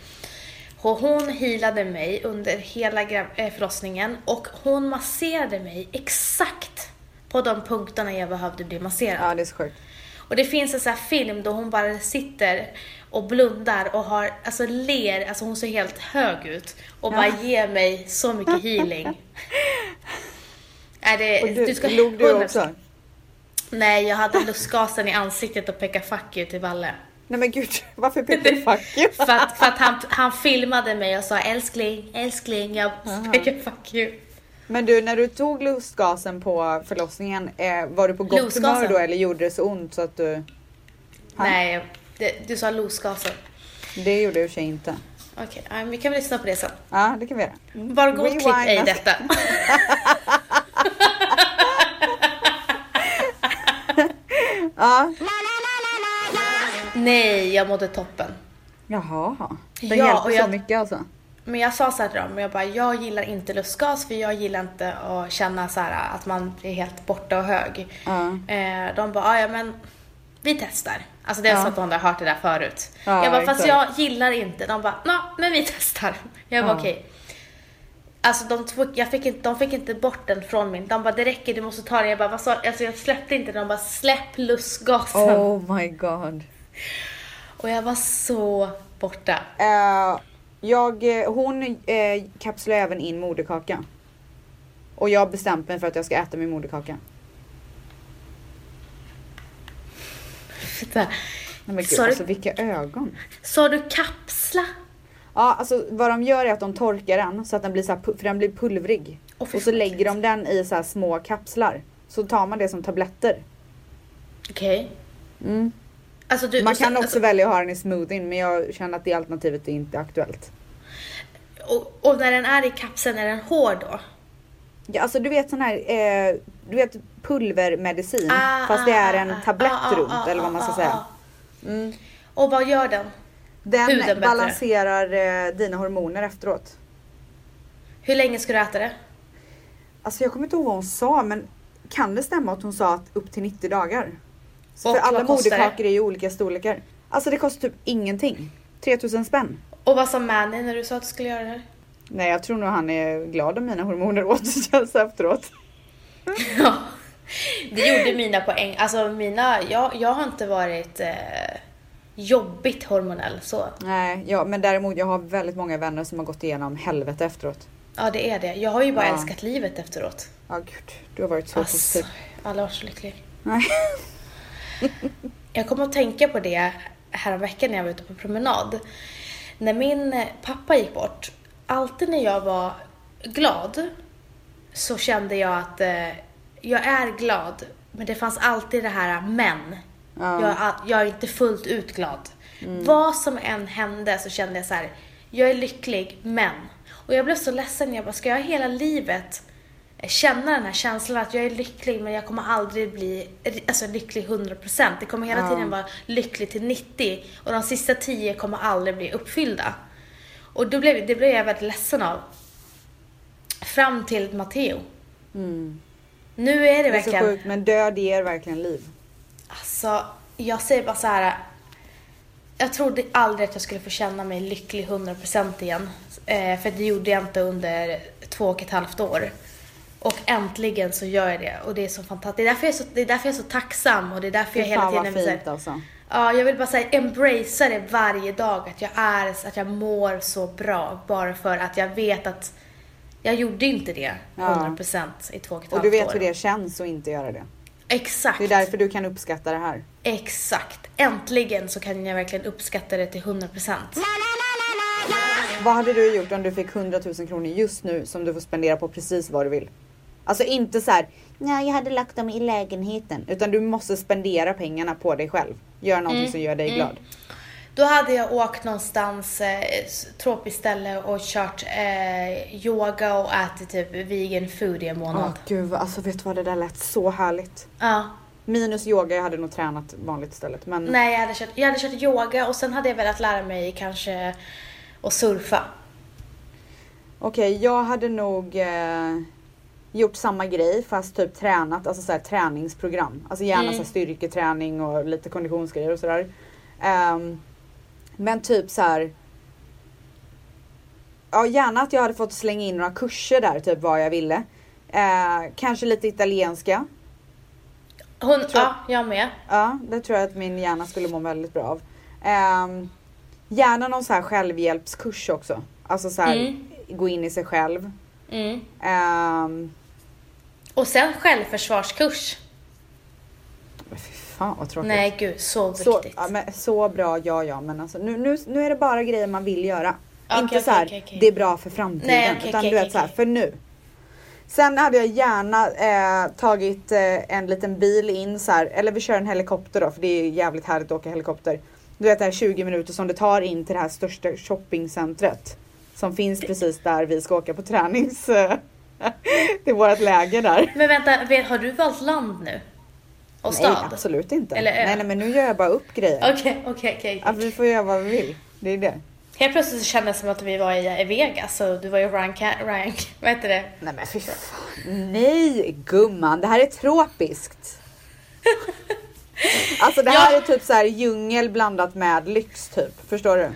[SPEAKER 2] Och hon healade mig under hela gra- eh, förlossningen och hon masserade mig exakt på de punkterna jag behövde bli masserad.
[SPEAKER 1] Ja det är så sjukt.
[SPEAKER 2] Och det finns en sån här film då hon bara sitter och blundar och har, alltså ler, alltså hon ser helt hög ut och bara ger mig så mycket healing. Är det,
[SPEAKER 1] Och du,
[SPEAKER 2] Eh, ska-
[SPEAKER 1] log du
[SPEAKER 2] 100%.
[SPEAKER 1] också?
[SPEAKER 2] Nej, jag hade lustgasen i ansiktet och pekade fuck you till Valle.
[SPEAKER 1] Nej men gud varför pekar du fuck you?
[SPEAKER 2] För att, för att han, han filmade mig och sa älskling, älskling, jag pekade fuck you.
[SPEAKER 1] Men du, när du tog lustgasen på förlossningen, eh, var du på gott
[SPEAKER 2] Lustgasen?
[SPEAKER 1] humör då eller gjorde det så ont så att du... Han-
[SPEAKER 2] Nej, det, du sa lustgasen.
[SPEAKER 1] Det gjorde du i och för sig inte.
[SPEAKER 2] Okej, ja, vi kan väl lyssna på det sen.
[SPEAKER 1] Ja, det kan vi göra. Mm.
[SPEAKER 2] Varsågod
[SPEAKER 1] Rewind
[SPEAKER 2] klipp ej
[SPEAKER 1] us.
[SPEAKER 2] detta.
[SPEAKER 1] Ja.
[SPEAKER 2] Nej, jag mådde toppen.
[SPEAKER 1] Jaha. Den
[SPEAKER 2] Ja,
[SPEAKER 1] hjälper så
[SPEAKER 2] och jag-
[SPEAKER 1] mycket alltså.
[SPEAKER 2] Men jag sa så här till dem, jag bara, jag gillar inte lustgas för jag gillar inte att känna så här att man är helt borta och hög.
[SPEAKER 1] Ja.
[SPEAKER 2] Eh, de bara, "Ah, ja men vi testar. Alltså det är
[SPEAKER 1] Ja.
[SPEAKER 2] så att de har hört det där förut.
[SPEAKER 1] Ja,
[SPEAKER 2] jag bara, fast
[SPEAKER 1] exakt.
[SPEAKER 2] jag gillar inte. De bara, nå men vi testar. Jag bara,
[SPEAKER 1] Ja.
[SPEAKER 2] okej. Alltså de, tog, jag fick inte, de fick inte bort den från min. De bara, det räcker, du måste ta den. Jag bara, vad sa Alltså jag släppte inte den. De bara, släpp lustgasen.
[SPEAKER 1] Oh my god.
[SPEAKER 2] Och jag var så borta.
[SPEAKER 1] Eh, jag, eh, hon eh, kapslar även in moderkaka. Och jag har bestämt mig för att jag ska äta min moderkaka.
[SPEAKER 2] Titta.
[SPEAKER 1] Nej, men gud,
[SPEAKER 2] Sorry.
[SPEAKER 1] alltså vilka ögon.
[SPEAKER 2] Sa du kapsla?
[SPEAKER 1] Ja, alltså vad de gör är att de torkar den så att den blir så här, pu- för den blir pulvrig.
[SPEAKER 2] Åh, fy
[SPEAKER 1] och så
[SPEAKER 2] fan,
[SPEAKER 1] lägger de den i så här små kapslar. Så tar man det som tabletter.
[SPEAKER 2] Okej.
[SPEAKER 1] Mm.
[SPEAKER 2] Alltså du,
[SPEAKER 1] Man
[SPEAKER 2] och
[SPEAKER 1] kan
[SPEAKER 2] sen-
[SPEAKER 1] också välja att ha den i smoothien men jag känner att det alternativet är inte aktuellt.
[SPEAKER 2] alltså, och, och när den är i kapseln, är den hård då?
[SPEAKER 1] Ja, alltså du vet sån här, eh, du vet pulvermedicin
[SPEAKER 2] Ah,
[SPEAKER 1] fast det är
[SPEAKER 2] ah,
[SPEAKER 1] en
[SPEAKER 2] ah,
[SPEAKER 1] tablett
[SPEAKER 2] ah, ah,
[SPEAKER 1] runt
[SPEAKER 2] ah,
[SPEAKER 1] eller vad man ska
[SPEAKER 2] ah,
[SPEAKER 1] säga.
[SPEAKER 2] ah.
[SPEAKER 1] Mm.
[SPEAKER 2] Och vad gör den? Huden bättre.
[SPEAKER 1] Den balanserar eh, dina hormoner efteråt.
[SPEAKER 2] Hur länge ska du äta det?
[SPEAKER 1] Alltså jag kommer inte ihåg vad hon sa men kan det stämma att hon sa att upp till 90 dagar?
[SPEAKER 2] Och
[SPEAKER 1] För alla
[SPEAKER 2] vad kostar det?
[SPEAKER 1] moderkakor är ju olika storlekar. Alltså det kostar typ ingenting. 3000 spänn.
[SPEAKER 2] Och vad sa Manny när du sa att du skulle göra det här?
[SPEAKER 1] Nej jag tror nog han är glad om mina hormoner återställs efteråt.
[SPEAKER 2] Ja, det gjorde mina poäng. Alltså mina, jag, jag har inte varit eh, jobbigt hormonell så.
[SPEAKER 1] Nej, ja, men däremot jag har väldigt många vänner som har gått igenom helvete efteråt.
[SPEAKER 2] Ja, det är det. Jag har ju bara
[SPEAKER 1] Ja.
[SPEAKER 2] enskat livet efteråt.
[SPEAKER 1] Ja gud, du har varit så
[SPEAKER 2] Alltså,
[SPEAKER 1] positiv.
[SPEAKER 2] alla var så lyckliga.
[SPEAKER 1] Nej.
[SPEAKER 2] Jag kom att tänka på det häromveckan när jag var ute på promenad. När min pappa gick bort, alltid när jag var glad så kände jag att eh, jag är glad, men det fanns alltid det här men.
[SPEAKER 1] Ja.
[SPEAKER 2] Jag, är all- jag är inte fullt ut glad.
[SPEAKER 1] Mm.
[SPEAKER 2] Vad som än hände så kände jag så här, jag är lycklig, men. Och jag blev så ledsen, jag bara, ska jag hela livet känna den här känslan att jag är lycklig men jag kommer aldrig bli alltså, lycklig 100%. Det kommer hela
[SPEAKER 1] Ja.
[SPEAKER 2] tiden vara lycklig till 90 och de sista 10 kommer aldrig bli uppfyllda. Och då blev, det blev jag väldigt ledsen av. Fram till Matteo.
[SPEAKER 1] Mm.
[SPEAKER 2] Nu är det,
[SPEAKER 1] Det är så
[SPEAKER 2] verkligen...
[SPEAKER 1] sjukt men död ger verkligen liv.
[SPEAKER 2] Alltså, jag säger bara så här. Jag trodde aldrig att jag skulle få känna mig lycklig 100% igen. Eh, för det gjorde jag inte under två och ett halvt år. Och äntligen så gör jag det. Och det är så fantastiskt. Det är därför jag är så, det är därför jag är så tacksam och det är därför jag
[SPEAKER 1] Fy
[SPEAKER 2] hela
[SPEAKER 1] fan vad
[SPEAKER 2] tiden... vill så här-
[SPEAKER 1] fint alltså.
[SPEAKER 2] Ja, jag vill bara säga embracea det varje dag. Att jag är, att jag mår så bra. Bara för att jag vet att jag gjorde inte det
[SPEAKER 1] Ja.
[SPEAKER 2] 100% i två och ett halvt år.
[SPEAKER 1] Och du vet hur det känns att inte göra det.
[SPEAKER 2] Exakt.
[SPEAKER 1] Det är därför du kan uppskatta det här.
[SPEAKER 2] Exakt. Äntligen så kan jag verkligen uppskatta det till 100%.
[SPEAKER 1] Vad hade du gjort om du fick 100 000 kronor just nu som du får spendera på precis vad du vill? Alltså inte så här, nej jag hade lagt dem i lägenheten. Utan du måste spendera pengarna på dig själv. Gör någonting som gör dig glad.
[SPEAKER 2] Då hade jag åkt någonstans, eh, s- tropiskt ställe och kört eh, yoga och ätit typ vegan food i en
[SPEAKER 1] Åh
[SPEAKER 2] månad.
[SPEAKER 1] gud, alltså vet du vad det där lät så härligt.
[SPEAKER 2] Ja.
[SPEAKER 1] Minus yoga, jag hade nog tränat vanligt istället. Men
[SPEAKER 2] Nej, jag hade, kört, jag hade kört yoga och sen hade jag velat lära mig kanske att surfa.
[SPEAKER 1] okej, jag hade nog eh, gjort samma grej fast typ tränat, alltså så här, träningsprogram. Alltså gärna så här, styrketräning och lite konditionsgrejer och sådär. Ehm, men typ så här. Ja, gärna att jag hade fått slänga in några kurser där, typ vad jag ville. Eh, kanske lite italienska.
[SPEAKER 2] Hon,
[SPEAKER 1] Tror-
[SPEAKER 2] ja, jag med.
[SPEAKER 1] Ja, det tror jag att min hjärna skulle må väldigt bra av. Ehm, gärna någon så här självhjälpskurs också. Alltså så här,
[SPEAKER 2] Mm.
[SPEAKER 1] gå in i sig själv.
[SPEAKER 2] Mm.
[SPEAKER 1] Ehm,
[SPEAKER 2] Och sen självförsvarskurs.
[SPEAKER 1] men fy fan vad tråkigt.
[SPEAKER 2] Nej, gud, så viktigt.
[SPEAKER 1] så, ja, men, så bra, ja ja men alltså nu, nu, nu är det bara grejer man vill göra.
[SPEAKER 2] Okej,
[SPEAKER 1] Inte
[SPEAKER 2] okej,
[SPEAKER 1] så här,
[SPEAKER 2] okej, okej.
[SPEAKER 1] det är bra för framtiden.
[SPEAKER 2] Nej, okej,
[SPEAKER 1] utan
[SPEAKER 2] okej,
[SPEAKER 1] du vet
[SPEAKER 2] okej,
[SPEAKER 1] så här,
[SPEAKER 2] okej.
[SPEAKER 1] för nu. Sen hade jag gärna eh, tagit eh, en liten bil in så här, eller vi kör en helikopter då för det är jävligt härligt att åka helikopter. Du vet det här 20 minuter som det tar in till det här största shoppingcentret. Som finns precis där vi ska åka på tränings... Eh, till vårt läger där.
[SPEAKER 2] Men vänta, vet- har du valt land nu?
[SPEAKER 1] Nej
[SPEAKER 2] Och stad?
[SPEAKER 1] absolut inte.
[SPEAKER 2] Eller ö.
[SPEAKER 1] nej, nej men nu gör jag bara upp grejer.
[SPEAKER 2] Okej, okej, okej.
[SPEAKER 1] Att vi får göra vad vi vill. Det är det.
[SPEAKER 2] Helt plötsligt så kändes det som att vi var i i Vegas och du var ju Ryan, Ca- Ryan vad heter det?
[SPEAKER 1] Nej men fy fan. Nej gumman, det här är tropiskt. Alltså det här
[SPEAKER 2] Ja.
[SPEAKER 1] är typ så här djungel blandat med lyx typ. Förstår du?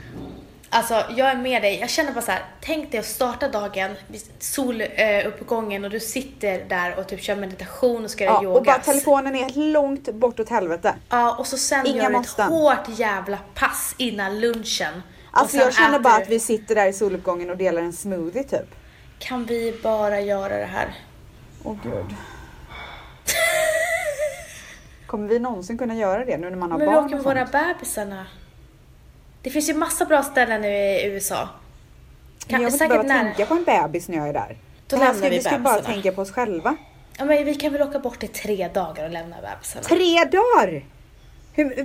[SPEAKER 2] Alltså jag är med dig, jag känner bara så här. tänk dig att starta dagen, vid soluppgången och du sitter där och typ kör meditation och ska göra
[SPEAKER 1] Ja,
[SPEAKER 2] yoga.
[SPEAKER 1] och bara telefonen är långt bortåt helvete.
[SPEAKER 2] Ja, och så sen
[SPEAKER 1] Inga
[SPEAKER 2] gör du ett
[SPEAKER 1] måsten.
[SPEAKER 2] hårt jävla pass innan lunchen.
[SPEAKER 1] Alltså
[SPEAKER 2] sen
[SPEAKER 1] jag känner
[SPEAKER 2] äter
[SPEAKER 1] bara
[SPEAKER 2] du.
[SPEAKER 1] att vi sitter där i soluppgången och delar en smoothie typ.
[SPEAKER 2] Kan vi bara göra det här?
[SPEAKER 1] Åh gud. Kommer vi någonsin kunna göra det nu när man har
[SPEAKER 2] Men vi
[SPEAKER 1] barn?
[SPEAKER 2] åker
[SPEAKER 1] och
[SPEAKER 2] med
[SPEAKER 1] sånt?
[SPEAKER 2] våra bebisarna. Det finns ju massa bra ställen nu i USA.
[SPEAKER 1] Men jag vill inte behöva tänka på en bebis när jag är där. Det
[SPEAKER 2] Då
[SPEAKER 1] här
[SPEAKER 2] lämnar
[SPEAKER 1] ska,
[SPEAKER 2] vi
[SPEAKER 1] vi ska bara
[SPEAKER 2] bebisarna.
[SPEAKER 1] tänka på oss själva.
[SPEAKER 2] Ja, men vi kan väl åka bort i tre dagar och lämna bebisarna.
[SPEAKER 1] Tre dagar! Hur,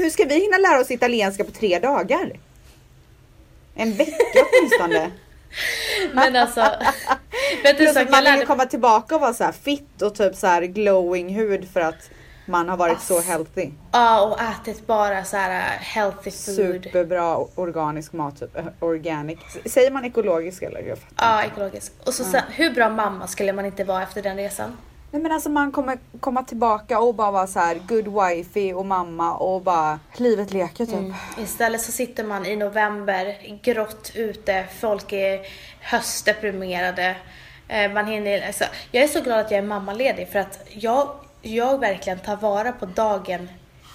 [SPEAKER 1] hur ska vi hinna lära oss italienska på tre dagar? En vecka åtminstone.
[SPEAKER 2] Men alltså... vet du,
[SPEAKER 1] Plus
[SPEAKER 2] så
[SPEAKER 1] att
[SPEAKER 2] jag
[SPEAKER 1] man vill ju
[SPEAKER 2] lärde
[SPEAKER 1] komma tillbaka och vara så här fit och typ så här glowing hud för att man har varit så healthy.
[SPEAKER 2] Ja, och ätit bara så här äh, healthy food.
[SPEAKER 1] Superbra organisk mat, typ. Eh, Organic. S- Säger man ekologisk eller? Jag fattar.
[SPEAKER 2] Ja, ekologiskt. Och så, sen, hur bra mamma skulle man inte vara efter den resan?
[SPEAKER 1] Nej men alltså man kommer komma tillbaka och bara vara så här good wifey och mamma och bara livet leker typ.
[SPEAKER 2] Istället så sitter man i november, grått ute, folk är höstdeprimerade. Eh, Man hinner, alltså, jag är så glad att jag är mammaledig för att jag, jag verkligen tar vara på dagen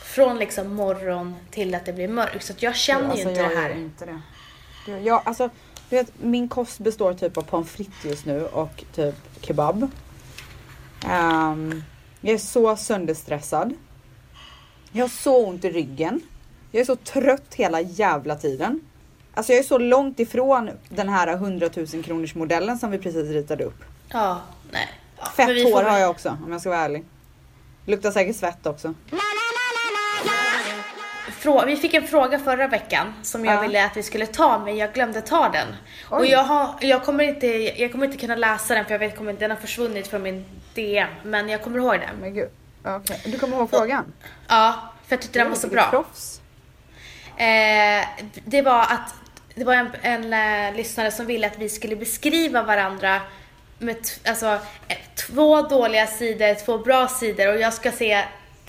[SPEAKER 2] från liksom morgon till att det blir mörkt. Så att jag känner
[SPEAKER 1] Alltså,
[SPEAKER 2] ju inte
[SPEAKER 1] jag
[SPEAKER 2] det
[SPEAKER 1] gör
[SPEAKER 2] här.
[SPEAKER 1] inte det. Jag, jag, alltså, du vet, min kost består typ av pommes frites just nu och typ kebab. Ehm, jag är så sönderstressad. Jag har så ont i ryggen. Jag är så trött hela jävla tiden. Alltså jag är så långt ifrån den här 100 000 kronors modellen som vi precis ritade upp.
[SPEAKER 2] Ja, nej. Ja, men vi
[SPEAKER 1] Fett hår
[SPEAKER 2] får-
[SPEAKER 1] har jag också om jag ska vara ärlig. Luktar säkert svett också.
[SPEAKER 2] Frå- vi fick en fråga förra veckan som jag
[SPEAKER 1] Ja.
[SPEAKER 2] ville att vi skulle ta men jag glömde ta den. Och
[SPEAKER 1] Oj.
[SPEAKER 2] jag, har, jag, kommer inte, jag kommer inte kunna läsa den för jag vet kommer, den har försvunnit från min DM men jag kommer ihåg den.
[SPEAKER 1] Men gud. Okej. Du kommer ihåg frågan?
[SPEAKER 2] Ja, för jag tyckte den var så
[SPEAKER 1] Du är
[SPEAKER 2] bra.
[SPEAKER 1] Proffs.
[SPEAKER 2] Eh, det var att det var en, en eh, lyssnare som ville att vi skulle beskriva varandra med t- alltså, eh, två dåliga sidor, två bra sidor och jag ska säga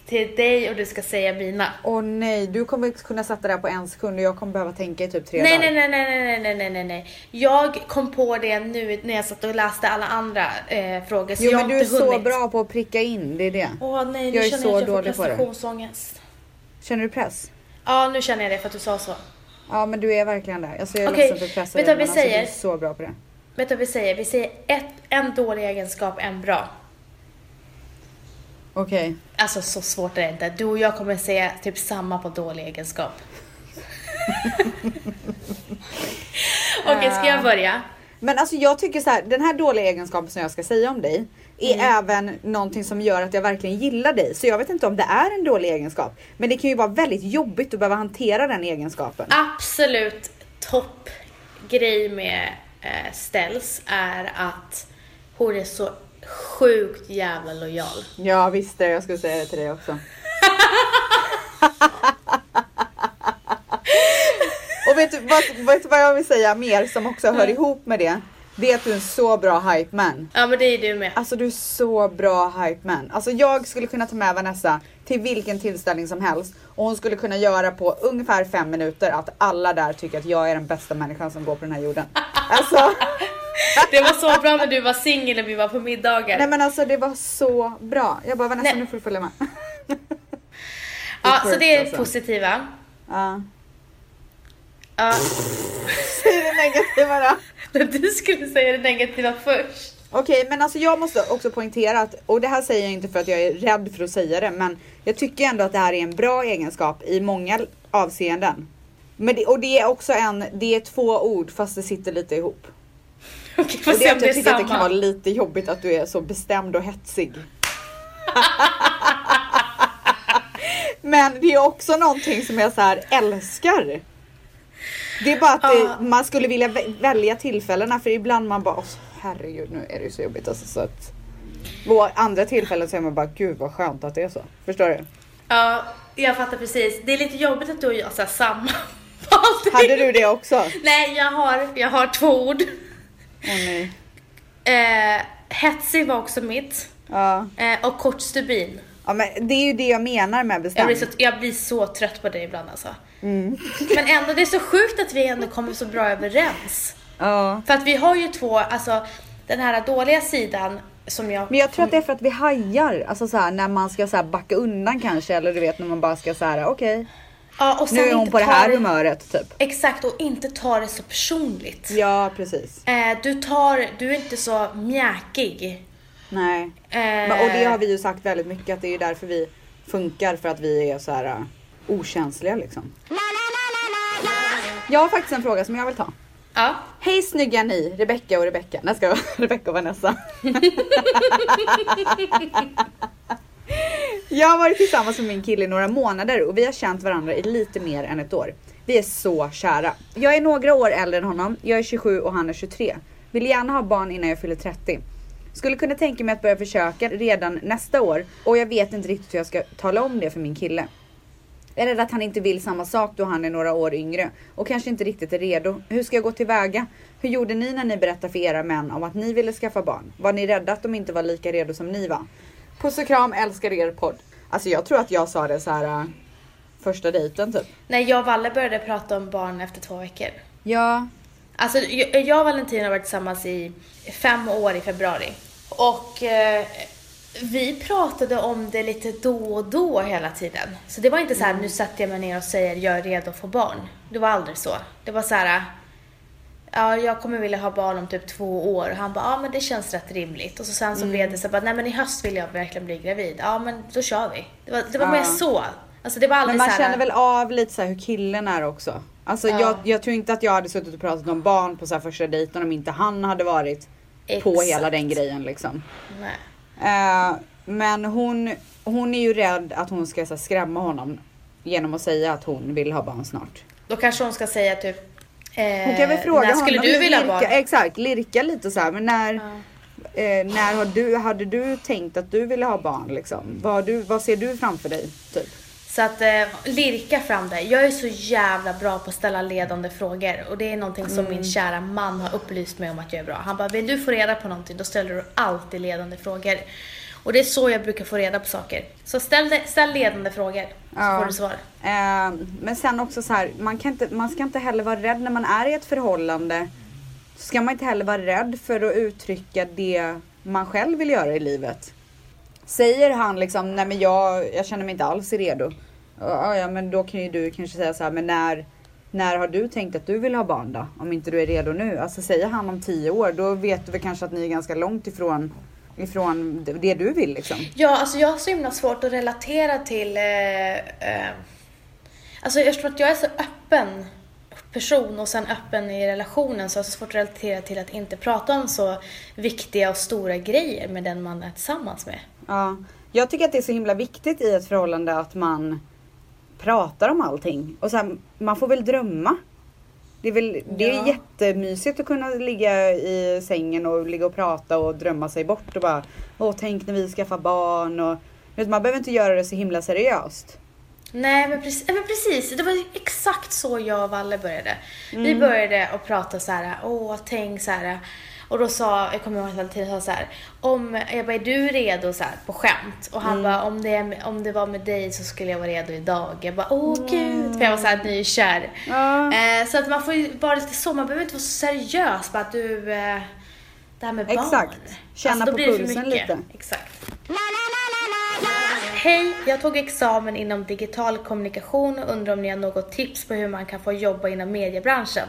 [SPEAKER 2] till dig och du ska säga mina.
[SPEAKER 1] Åh nej, du kommer kunna sätta det här på en sekund och jag kommer behöva tänka i typ tre
[SPEAKER 2] Nej,
[SPEAKER 1] dagar.
[SPEAKER 2] nej, nej, nej, nej, nej, nej, nej, nej. Jag kom på det nu när jag satt och läste alla andra eh, frågor. Så
[SPEAKER 1] Jo
[SPEAKER 2] jag
[SPEAKER 1] men
[SPEAKER 2] har
[SPEAKER 1] du är
[SPEAKER 2] inte
[SPEAKER 1] så
[SPEAKER 2] hunnit.
[SPEAKER 1] bra på att pricka in, det är det.
[SPEAKER 2] Åh nej, nu
[SPEAKER 1] Jag är
[SPEAKER 2] känner
[SPEAKER 1] så
[SPEAKER 2] jag att jag får
[SPEAKER 1] dålig på det.
[SPEAKER 2] prestationsångest.
[SPEAKER 1] Känner du press?
[SPEAKER 2] Ja, nu känner jag det för att du sa så.
[SPEAKER 1] Ja men du är verkligen där. Alltså jag är
[SPEAKER 2] Okej,
[SPEAKER 1] ledsen för pressen.
[SPEAKER 2] vet du vad vi säger?
[SPEAKER 1] Alltså, du är så bra på det.
[SPEAKER 2] Vet du vad vi säger? Vi säger ett, en dålig egenskap, en bra.
[SPEAKER 1] Okej.
[SPEAKER 2] Alltså så svårt är det inte. Du och jag kommer säga typ samma på dålig egenskap. Okej, ska jag börja?
[SPEAKER 1] Men alltså jag tycker så här, den här dåliga egenskapen som jag ska säga om dig är
[SPEAKER 2] Mm.
[SPEAKER 1] även någonting som gör att jag verkligen gillar dig. Så jag vet inte om det är en dålig egenskap. Men det kan ju vara väldigt jobbigt att behöva hantera den egenskapen.
[SPEAKER 2] absolut toppgrej med eh, Ställs är att hon är så sjukt jävla lojal.
[SPEAKER 1] Ja visst det, jag skulle säga det till dig också. Och vet du, vad, vet du vad jag vill säga mer som också hör ihop med det? Det är att du är en så bra hype man.
[SPEAKER 2] Ja men det är du med.
[SPEAKER 1] Alltså du är så bra hype man. Alltså jag skulle kunna ta med Vanessa till vilken tillställning som helst och hon skulle kunna göra på ungefär fem minuter att alla där tycker att jag är den bästa människan som går på den här jorden. Alltså,
[SPEAKER 2] Det var så bra när du var singel och vi var på middagar.
[SPEAKER 1] nej men alltså det var så bra. Jag bara Vanessa
[SPEAKER 2] Nej.
[SPEAKER 1] nu får du följa med.
[SPEAKER 2] ja, så
[SPEAKER 1] sjukt,
[SPEAKER 2] det är
[SPEAKER 1] alltså.
[SPEAKER 2] positiva.
[SPEAKER 1] Ja.
[SPEAKER 2] Ja,
[SPEAKER 1] Säg det negativa då.
[SPEAKER 2] men du skulle säga det negativa först.
[SPEAKER 1] Okej, men alltså jag måste också poängtera att, och det här säger jag inte för att jag är rädd för att säga det, men jag tycker ändå att det här är en bra egenskap i många avseenden. Men det, och det är också en, det är två ord fast det sitter lite ihop.
[SPEAKER 2] Okej,
[SPEAKER 1] Och
[SPEAKER 2] får
[SPEAKER 1] det
[SPEAKER 2] se
[SPEAKER 1] är
[SPEAKER 2] om
[SPEAKER 1] att
[SPEAKER 2] det
[SPEAKER 1] jag
[SPEAKER 2] är
[SPEAKER 1] tycker att det kan vara
[SPEAKER 2] samma.
[SPEAKER 1] lite jobbigt att du är så bestämd och hetsig. men det är också någonting som jag så här älskar. Det är bara att
[SPEAKER 2] Ja.
[SPEAKER 1] det, man skulle vilja vä- välja tillfällena för ibland man bara "Åh, herregud nu är det ju så jobbigt alltså, så att på andra tillfällen så är man bara gud vad skönt att det är så. Förstår du?
[SPEAKER 2] Ja, jag fattar precis. Det är lite jobbigt att du och jag säger samma. på allting.
[SPEAKER 1] Hade du det också? Åh
[SPEAKER 2] Nej, jag har, jag har två ord.
[SPEAKER 1] nej.
[SPEAKER 2] Eh, hetsig var också mitt.
[SPEAKER 1] Ja.
[SPEAKER 2] Eh, och kort stubin.
[SPEAKER 1] ja men det är ju det jag menar med
[SPEAKER 2] Jag blir,
[SPEAKER 1] bestämd.
[SPEAKER 2] så, jag blir så trött på dig ibland alltså.
[SPEAKER 1] Mm.
[SPEAKER 2] Men ändå, det är så sjukt att vi ändå kommer så bra överens.
[SPEAKER 1] Ja.
[SPEAKER 2] För att vi har ju två, alltså den här dåliga sidan som jag...
[SPEAKER 1] Men jag tror att det är för att vi hajar, alltså så här, när man ska så här backa undan kanske eller du vet när man bara ska så här okej.
[SPEAKER 2] Ja, och sen
[SPEAKER 1] Nu är hon
[SPEAKER 2] inte
[SPEAKER 1] på det
[SPEAKER 2] ta
[SPEAKER 1] här humöret typ.
[SPEAKER 2] Exakt, och inte ta det så personligt.
[SPEAKER 1] Ja precis.
[SPEAKER 2] Eh, du, tar, du är inte så mjäkig.
[SPEAKER 1] Nej.
[SPEAKER 2] Eh,
[SPEAKER 1] Men, och det har vi ju sagt väldigt mycket att det är ju därför vi funkar för att vi är så här eh, okänsliga liksom. Jag har faktiskt en fråga som jag vill ta.
[SPEAKER 2] Ja.
[SPEAKER 1] Hej snygga ni, Rebecca och Rebecca. Nej ska Rebecca och Vanessa. jag har varit tillsammans med min kille i några månader och vi har känt varandra i lite mer än ett år. Vi är så kära. Jag är några år äldre än honom, jag är 27 och han är 23. Vill gärna ha barn innan jag fyller 30. Skulle kunna tänka mig att börja försöka redan nästa år och jag vet inte riktigt hur jag ska tala om det för min kille. Jag är rädd att han inte vill samma sak då han är några år yngre och kanske inte riktigt är redo. Hur ska jag gå tillväga? Hur gjorde ni när ni berättade för era män om att ni ville skaffa barn? Var ni rädda att de inte var lika redo som ni var? Puss och kram, älskar er podd. Alltså jag tror att jag sa det så här äh, första dejten typ.
[SPEAKER 2] När jag och Valle började prata om barn efter två veckor.
[SPEAKER 1] Ja,
[SPEAKER 2] Alltså, jag jag och Valentina har varit tillsammans i fem år i februari. Och eh, vi pratade om det lite då och då hela tiden. Så det var inte så
[SPEAKER 1] Mm.
[SPEAKER 2] här, nu sätter jag mig ner och säger jag är redo att få barn. Det var aldrig så. Det var så här, ja jag kommer vilja ha barn om typ två år. Och han bara, ja men det känns rätt rimligt. Och så sen så
[SPEAKER 1] Mm.
[SPEAKER 2] blev det så här, bara, nej men i höst vill jag verkligen bli gravid. Ja men då kör vi. Det var, det var
[SPEAKER 1] Ja.
[SPEAKER 2] mer så. Alltså det var
[SPEAKER 1] men
[SPEAKER 2] aldrig
[SPEAKER 1] man
[SPEAKER 2] så här,
[SPEAKER 1] känner väl av lite så här hur killen är också. Alltså
[SPEAKER 2] Ja.
[SPEAKER 1] jag, jag tror inte att jag hade suttit och pratat om barn på så här första dejten om inte han hade varit på
[SPEAKER 2] Exakt.
[SPEAKER 1] hela den grejen liksom.
[SPEAKER 2] Nej.
[SPEAKER 1] Eh, men hon, hon är ju rädd att hon ska så här, skrämma honom genom att säga att hon vill ha barn snart.
[SPEAKER 2] Då kanske hon ska säga typ eh,
[SPEAKER 1] Hon kan väl fråga
[SPEAKER 2] när skulle
[SPEAKER 1] honom,
[SPEAKER 2] du vilja ha
[SPEAKER 1] lirka,
[SPEAKER 2] barn?
[SPEAKER 1] Exakt, lirka lite så här. Men när,
[SPEAKER 2] Ja.
[SPEAKER 1] eh, när har du, hade du tänkt att du ville ha barn liksom? Vad, har du, vad ser du framför dig? Typ?
[SPEAKER 2] Så att eh, lirka fram det. Jag är så jävla bra på att ställa ledande frågor och det är någonting som
[SPEAKER 1] Mm.
[SPEAKER 2] min kära man har upplyst mig om att jag är bra. Han bara, vill du få reda på någonting då ställer du alltid ledande frågor. Och det är så jag brukar få reda på saker. Så ställ, det- ställ ledande frågor så
[SPEAKER 1] Ja.
[SPEAKER 2] får du svar.
[SPEAKER 1] Eh, men sen också så här, man, kan inte, man ska inte heller vara rädd när man är i ett förhållande. Så ska man inte heller vara rädd för att uttrycka det man själv vill göra i livet. Säger han liksom, nej men jag, jag känner mig inte alls redo. Ja, ja men då kan ju du kanske säga så här, men när, när har du tänkt att du vill ha barn då? Om inte du är redo nu. Alltså säger han om tio år, då vet du väl kanske att ni är ganska långt ifrån, ifrån det du vill liksom.
[SPEAKER 2] Ja, alltså jag har så himla svårt att relatera till... Eh, eh, alltså eftersom att jag är så öppen person och sen öppen i relationen så har jag så svårt att relatera till att inte prata om så viktiga och stora grejer med den man är tillsammans med.
[SPEAKER 1] Ja, jag tycker att det är så himla viktigt i ett förhållande att man pratar om allting. Och sen, man får väl drömma. Det är, väl, det är
[SPEAKER 2] Ja.
[SPEAKER 1] jättemysigt att kunna ligga i sängen och ligga och prata och drömma sig bort och bara Åh, tänk när vi skaffar barn och du vet, man behöver inte göra det så himla seriöst.
[SPEAKER 2] Nej men precis, eh, men precis, det var ju exakt så jag och Valle började. Vi började att prata så här, åh tänk så här. Och då sa, jag kommer ihåg att Valentina sa så här, om, jag bara är du redo så här på skämt? Och han bara, om det, är- om det var med dig så skulle jag vara redo idag. Jag bara, åh gud, för jag var så här nykär.
[SPEAKER 1] Ja.
[SPEAKER 2] Eh, så att man får ju vara lite så, man behöver inte vara så seriös bara att du, eh, det här med barn.
[SPEAKER 1] Exakt. Känna
[SPEAKER 2] Alltså, då
[SPEAKER 1] på
[SPEAKER 2] blir det för
[SPEAKER 1] pulsen
[SPEAKER 2] mycket.
[SPEAKER 1] lite.
[SPEAKER 2] Exakt. Hej! Jag tog examen inom digital kommunikation och undrar om ni har något tips på hur man kan få jobba inom mediebranschen?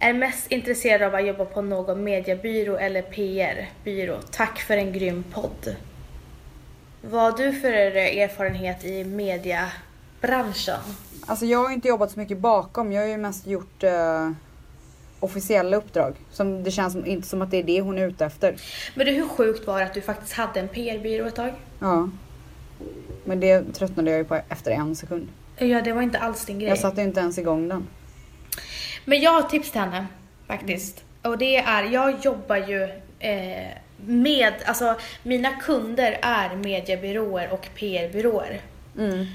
[SPEAKER 2] Är mest intresserad av att jobba på någon mediebyrå eller PR-byrå. Tack för en grym podd. Vad har du för erfarenhet i mediebranschen?
[SPEAKER 1] Alltså jag har ju inte jobbat så mycket bakom, jag har ju mest gjort eh, officiella uppdrag. Som det känns som, inte som att det är det hon är ute efter.
[SPEAKER 2] Men du, hur sjukt var det att du faktiskt hade en PR-byrå ett tag?
[SPEAKER 1] Ja. Men det tröttnade jag ju på efter en sekund.
[SPEAKER 2] Ja, det var inte alls din grej.
[SPEAKER 1] Jag satte inte ens igång den.
[SPEAKER 2] Men jag har ett tips till henne faktiskt. Och det är, jag jobbar ju eh, med, alltså mina kunder är mediebyråer och PR-byråer.
[SPEAKER 1] Mm.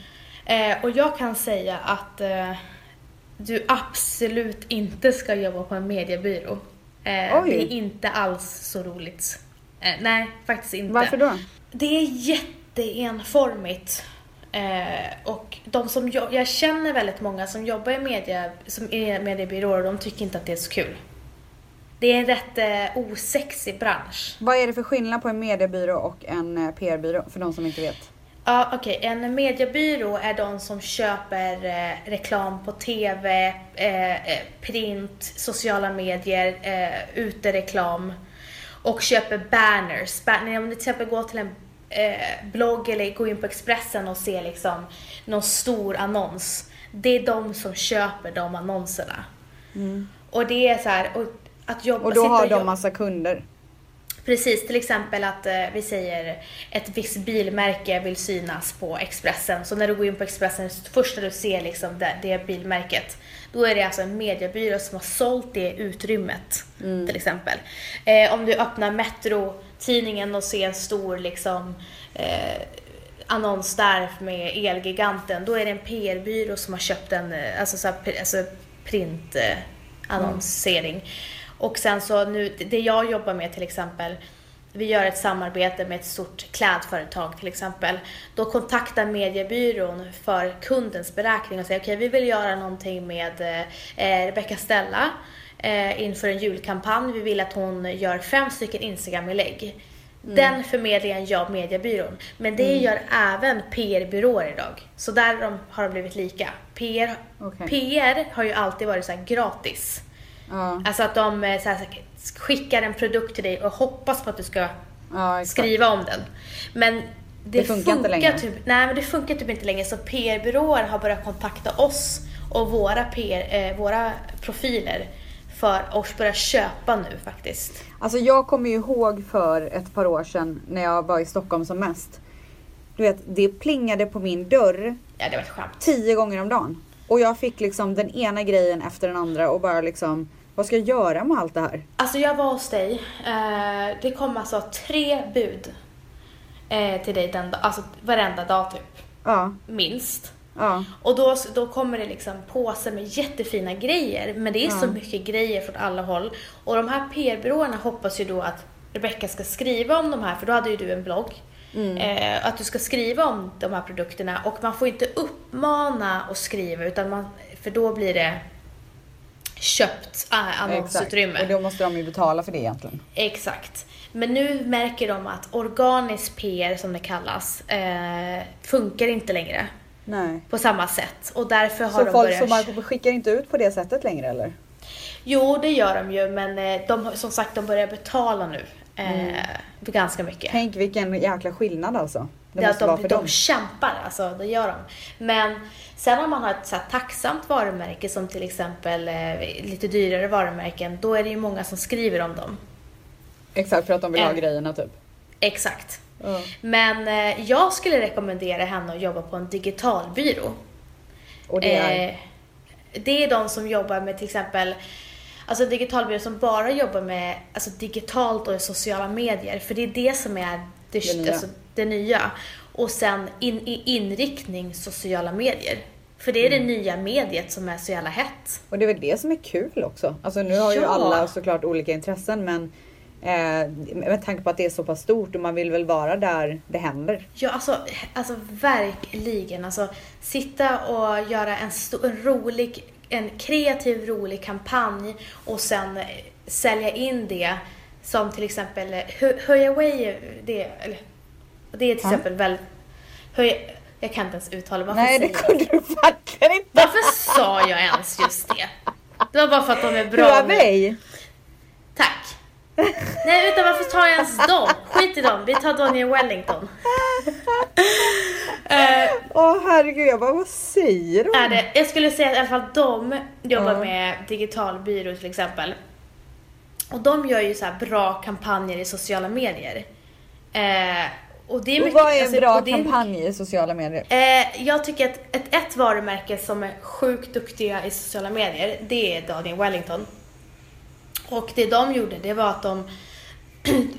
[SPEAKER 2] Eh, och jag kan säga att eh, du absolut inte ska jobba på en mediebyrå. Eh, det är inte alls så roligt. Eh, nej, faktiskt inte.
[SPEAKER 1] Varför då?
[SPEAKER 2] Det är jätteenformigt. Eh, och de som jo- jag känner väldigt många som jobbar i media, som är mediebyråer och de tycker inte att det är så kul. Det är en rätt eh, osexig bransch.
[SPEAKER 1] Vad är det för skillnad på en mediebyrå och en eh, PR-byrå för de som inte vet?
[SPEAKER 2] Ja, okej. En mediebyrå är de som köper eh, reklam på TV, eh, eh, print, sociala medier, eh, utereklam och köper banners. Ban- om ni till exempel går till en eh, blogg eller går in på Expressen och ser liksom någon stor annons. Det är de som köper de annonserna. Och det är så här, och att
[SPEAKER 1] Mm.
[SPEAKER 2] jobba,
[SPEAKER 1] Och då
[SPEAKER 2] sitta
[SPEAKER 1] har de
[SPEAKER 2] jobba-
[SPEAKER 1] massa kunder.
[SPEAKER 2] Precis, till exempel att eh, vi säger ett visst bilmärke vill synas på Expressen. Så när du går in på Expressen, det första du ser liksom det, det bilmärket, då är det alltså en mediebyrå som har sålt det utrymmet. Till exempel. Eh, om du öppnar Metro-tidningen och ser en stor liksom, eh, annons där med Elgiganten, då är det en PR-byrå som har köpt en eh, alltså, så här, pr- alltså print eh, annonsering. Och sen så nu, det jag jobbar med till exempel, vi gör ett samarbete med ett stort klädföretag till exempel. Då kontaktar mediebyrån för kundens beräkning och säger okej vi vill göra någonting med eh, Rebecca Stella eh, inför en julkampanj. Vi vill att hon gör fem stycken Instagram-inlägg.
[SPEAKER 1] Mm.
[SPEAKER 2] Den förmedlingen gör mediebyrån. Men det gör även PR-byråer idag. Så där de, har de blivit lika. PR,
[SPEAKER 1] Okej.
[SPEAKER 2] PR har ju alltid varit så här gratis.
[SPEAKER 1] Ja,
[SPEAKER 2] Alltså att de eh, så här, skickar en produkt till dig och hoppas på att du ska
[SPEAKER 1] ja exakt.
[SPEAKER 2] skriva om den. Men det,
[SPEAKER 1] Det funkar inte längre.
[SPEAKER 2] Typ, nej, men det funkar typ inte längre. Så PR-byråer har börjat kontakta oss och våra, PR, eh, våra profiler för att börja köpa nu faktiskt.
[SPEAKER 1] Alltså jag kommer ju ihåg för ett par år sedan när jag var i Stockholm som mest. Du vet, det plingade på min dörr
[SPEAKER 2] Ja, det var ett skämt.
[SPEAKER 1] tio gånger om dagen. Och jag fick liksom den ena grejen efter den andra och bara liksom, vad ska jag göra med allt det här?
[SPEAKER 2] Alltså jag var hos dig. Eh, det kom alltså tre bud eh, till dig den, da- alltså varenda dag typ.
[SPEAKER 1] Ja,
[SPEAKER 2] Minst.
[SPEAKER 1] ja,
[SPEAKER 2] Och då, då kommer det liksom påsar med jättefina grejer, men det är så mycket grejer från alla håll. Och de här PR-byråerna hoppas ju då att Rebecca ska skriva om de här, för då hade ju du en blogg.
[SPEAKER 1] Mm.
[SPEAKER 2] Eh, att du ska skriva om de här produkterna och man får inte uppmana att skriva utan man, för då blir det köpt äh,
[SPEAKER 1] exakt.
[SPEAKER 2] annonsutrymme.
[SPEAKER 1] Och då måste de ju betala för det egentligen.
[SPEAKER 2] Exakt. Men nu märker de att organisk PR som det kallas eh, funkar inte längre
[SPEAKER 1] Nej.
[SPEAKER 2] på samma sätt och därför har
[SPEAKER 1] Så
[SPEAKER 2] de
[SPEAKER 1] folk
[SPEAKER 2] börjat
[SPEAKER 1] som man skickar inte ut på det sättet längre eller?
[SPEAKER 2] Jo, det gör de ju, men eh, de, har- som sagt, de börjar betala nu. Eh, Ganska
[SPEAKER 1] Mm.
[SPEAKER 2] mycket.
[SPEAKER 1] Tänk vilken jäkla skillnad alltså. Det,
[SPEAKER 2] Det är att
[SPEAKER 1] måste
[SPEAKER 2] de,
[SPEAKER 1] vara för
[SPEAKER 2] de
[SPEAKER 1] dem.
[SPEAKER 2] kämpar, alltså det gör de. Men sen om man har ett så här tacksamt varumärke som till exempel eh, lite dyrare varumärken, då är det ju många som skriver om dem.
[SPEAKER 1] Exakt, för att de vill ha
[SPEAKER 2] Eh.
[SPEAKER 1] grejerna typ.
[SPEAKER 2] Exakt.
[SPEAKER 1] Ja.
[SPEAKER 2] Men eh, jag skulle rekommendera henne att jobba på en digital byrå.
[SPEAKER 1] Och det är...
[SPEAKER 2] Eh, det är de som jobbar med till exempel Alltså en digitalbyrå som bara jobbar med alltså digitalt och sociala medier. För det är det som är det,
[SPEAKER 1] Det
[SPEAKER 2] det,
[SPEAKER 1] nya.
[SPEAKER 2] nya. Alltså, det nya. Och sen in, i inriktning sociala medier. För det är
[SPEAKER 1] Mm.
[SPEAKER 2] det nya mediet som är så jävla hett.
[SPEAKER 1] Och det är väl det som är kul också. Alltså nu har ju
[SPEAKER 2] Ja.
[SPEAKER 1] alla såklart olika intressen men eh, med tanke på att det är så pass stort och man vill väl vara där det händer.
[SPEAKER 2] Ja, alltså, alltså verkligen. Alltså, sitta och göra en, sto- en rolig, en kreativ rolig kampanj och sen eh, sälja in det som till exempel eh, Hö- Höjaway, det, eller, det är till
[SPEAKER 1] Ja.
[SPEAKER 2] exempel väl, höj, jag kan inte ens uttala varför
[SPEAKER 1] Nej det
[SPEAKER 2] säger jag-
[SPEAKER 1] kunde du verkligen inte!
[SPEAKER 2] Varför sa jag ens just det? Det var bara för att de är bra.
[SPEAKER 1] Bra
[SPEAKER 2] med-
[SPEAKER 1] mig!
[SPEAKER 2] Tack. Nej, utan varför tar jag ens dem? Skit i dem, vi tar Daniel Wellington. Eh,
[SPEAKER 1] Åh herregud jag bara vad säger
[SPEAKER 2] är
[SPEAKER 1] du?
[SPEAKER 2] det. Jag skulle säga att i alla fall de jobbar
[SPEAKER 1] Ja.
[SPEAKER 2] med digital byrå till exempel. Och de gör ju så här bra kampanjer i sociala medier. Eh, och det är
[SPEAKER 1] Och
[SPEAKER 2] mycket,
[SPEAKER 1] vad är en
[SPEAKER 2] alltså,
[SPEAKER 1] bra
[SPEAKER 2] och det är-
[SPEAKER 1] kampanj i sociala medier?
[SPEAKER 2] Eh, jag tycker att ett, ett varumärke som är sjukt duktiga i sociala medier, det är Daniel Wellington. Och det de gjorde, det var att de...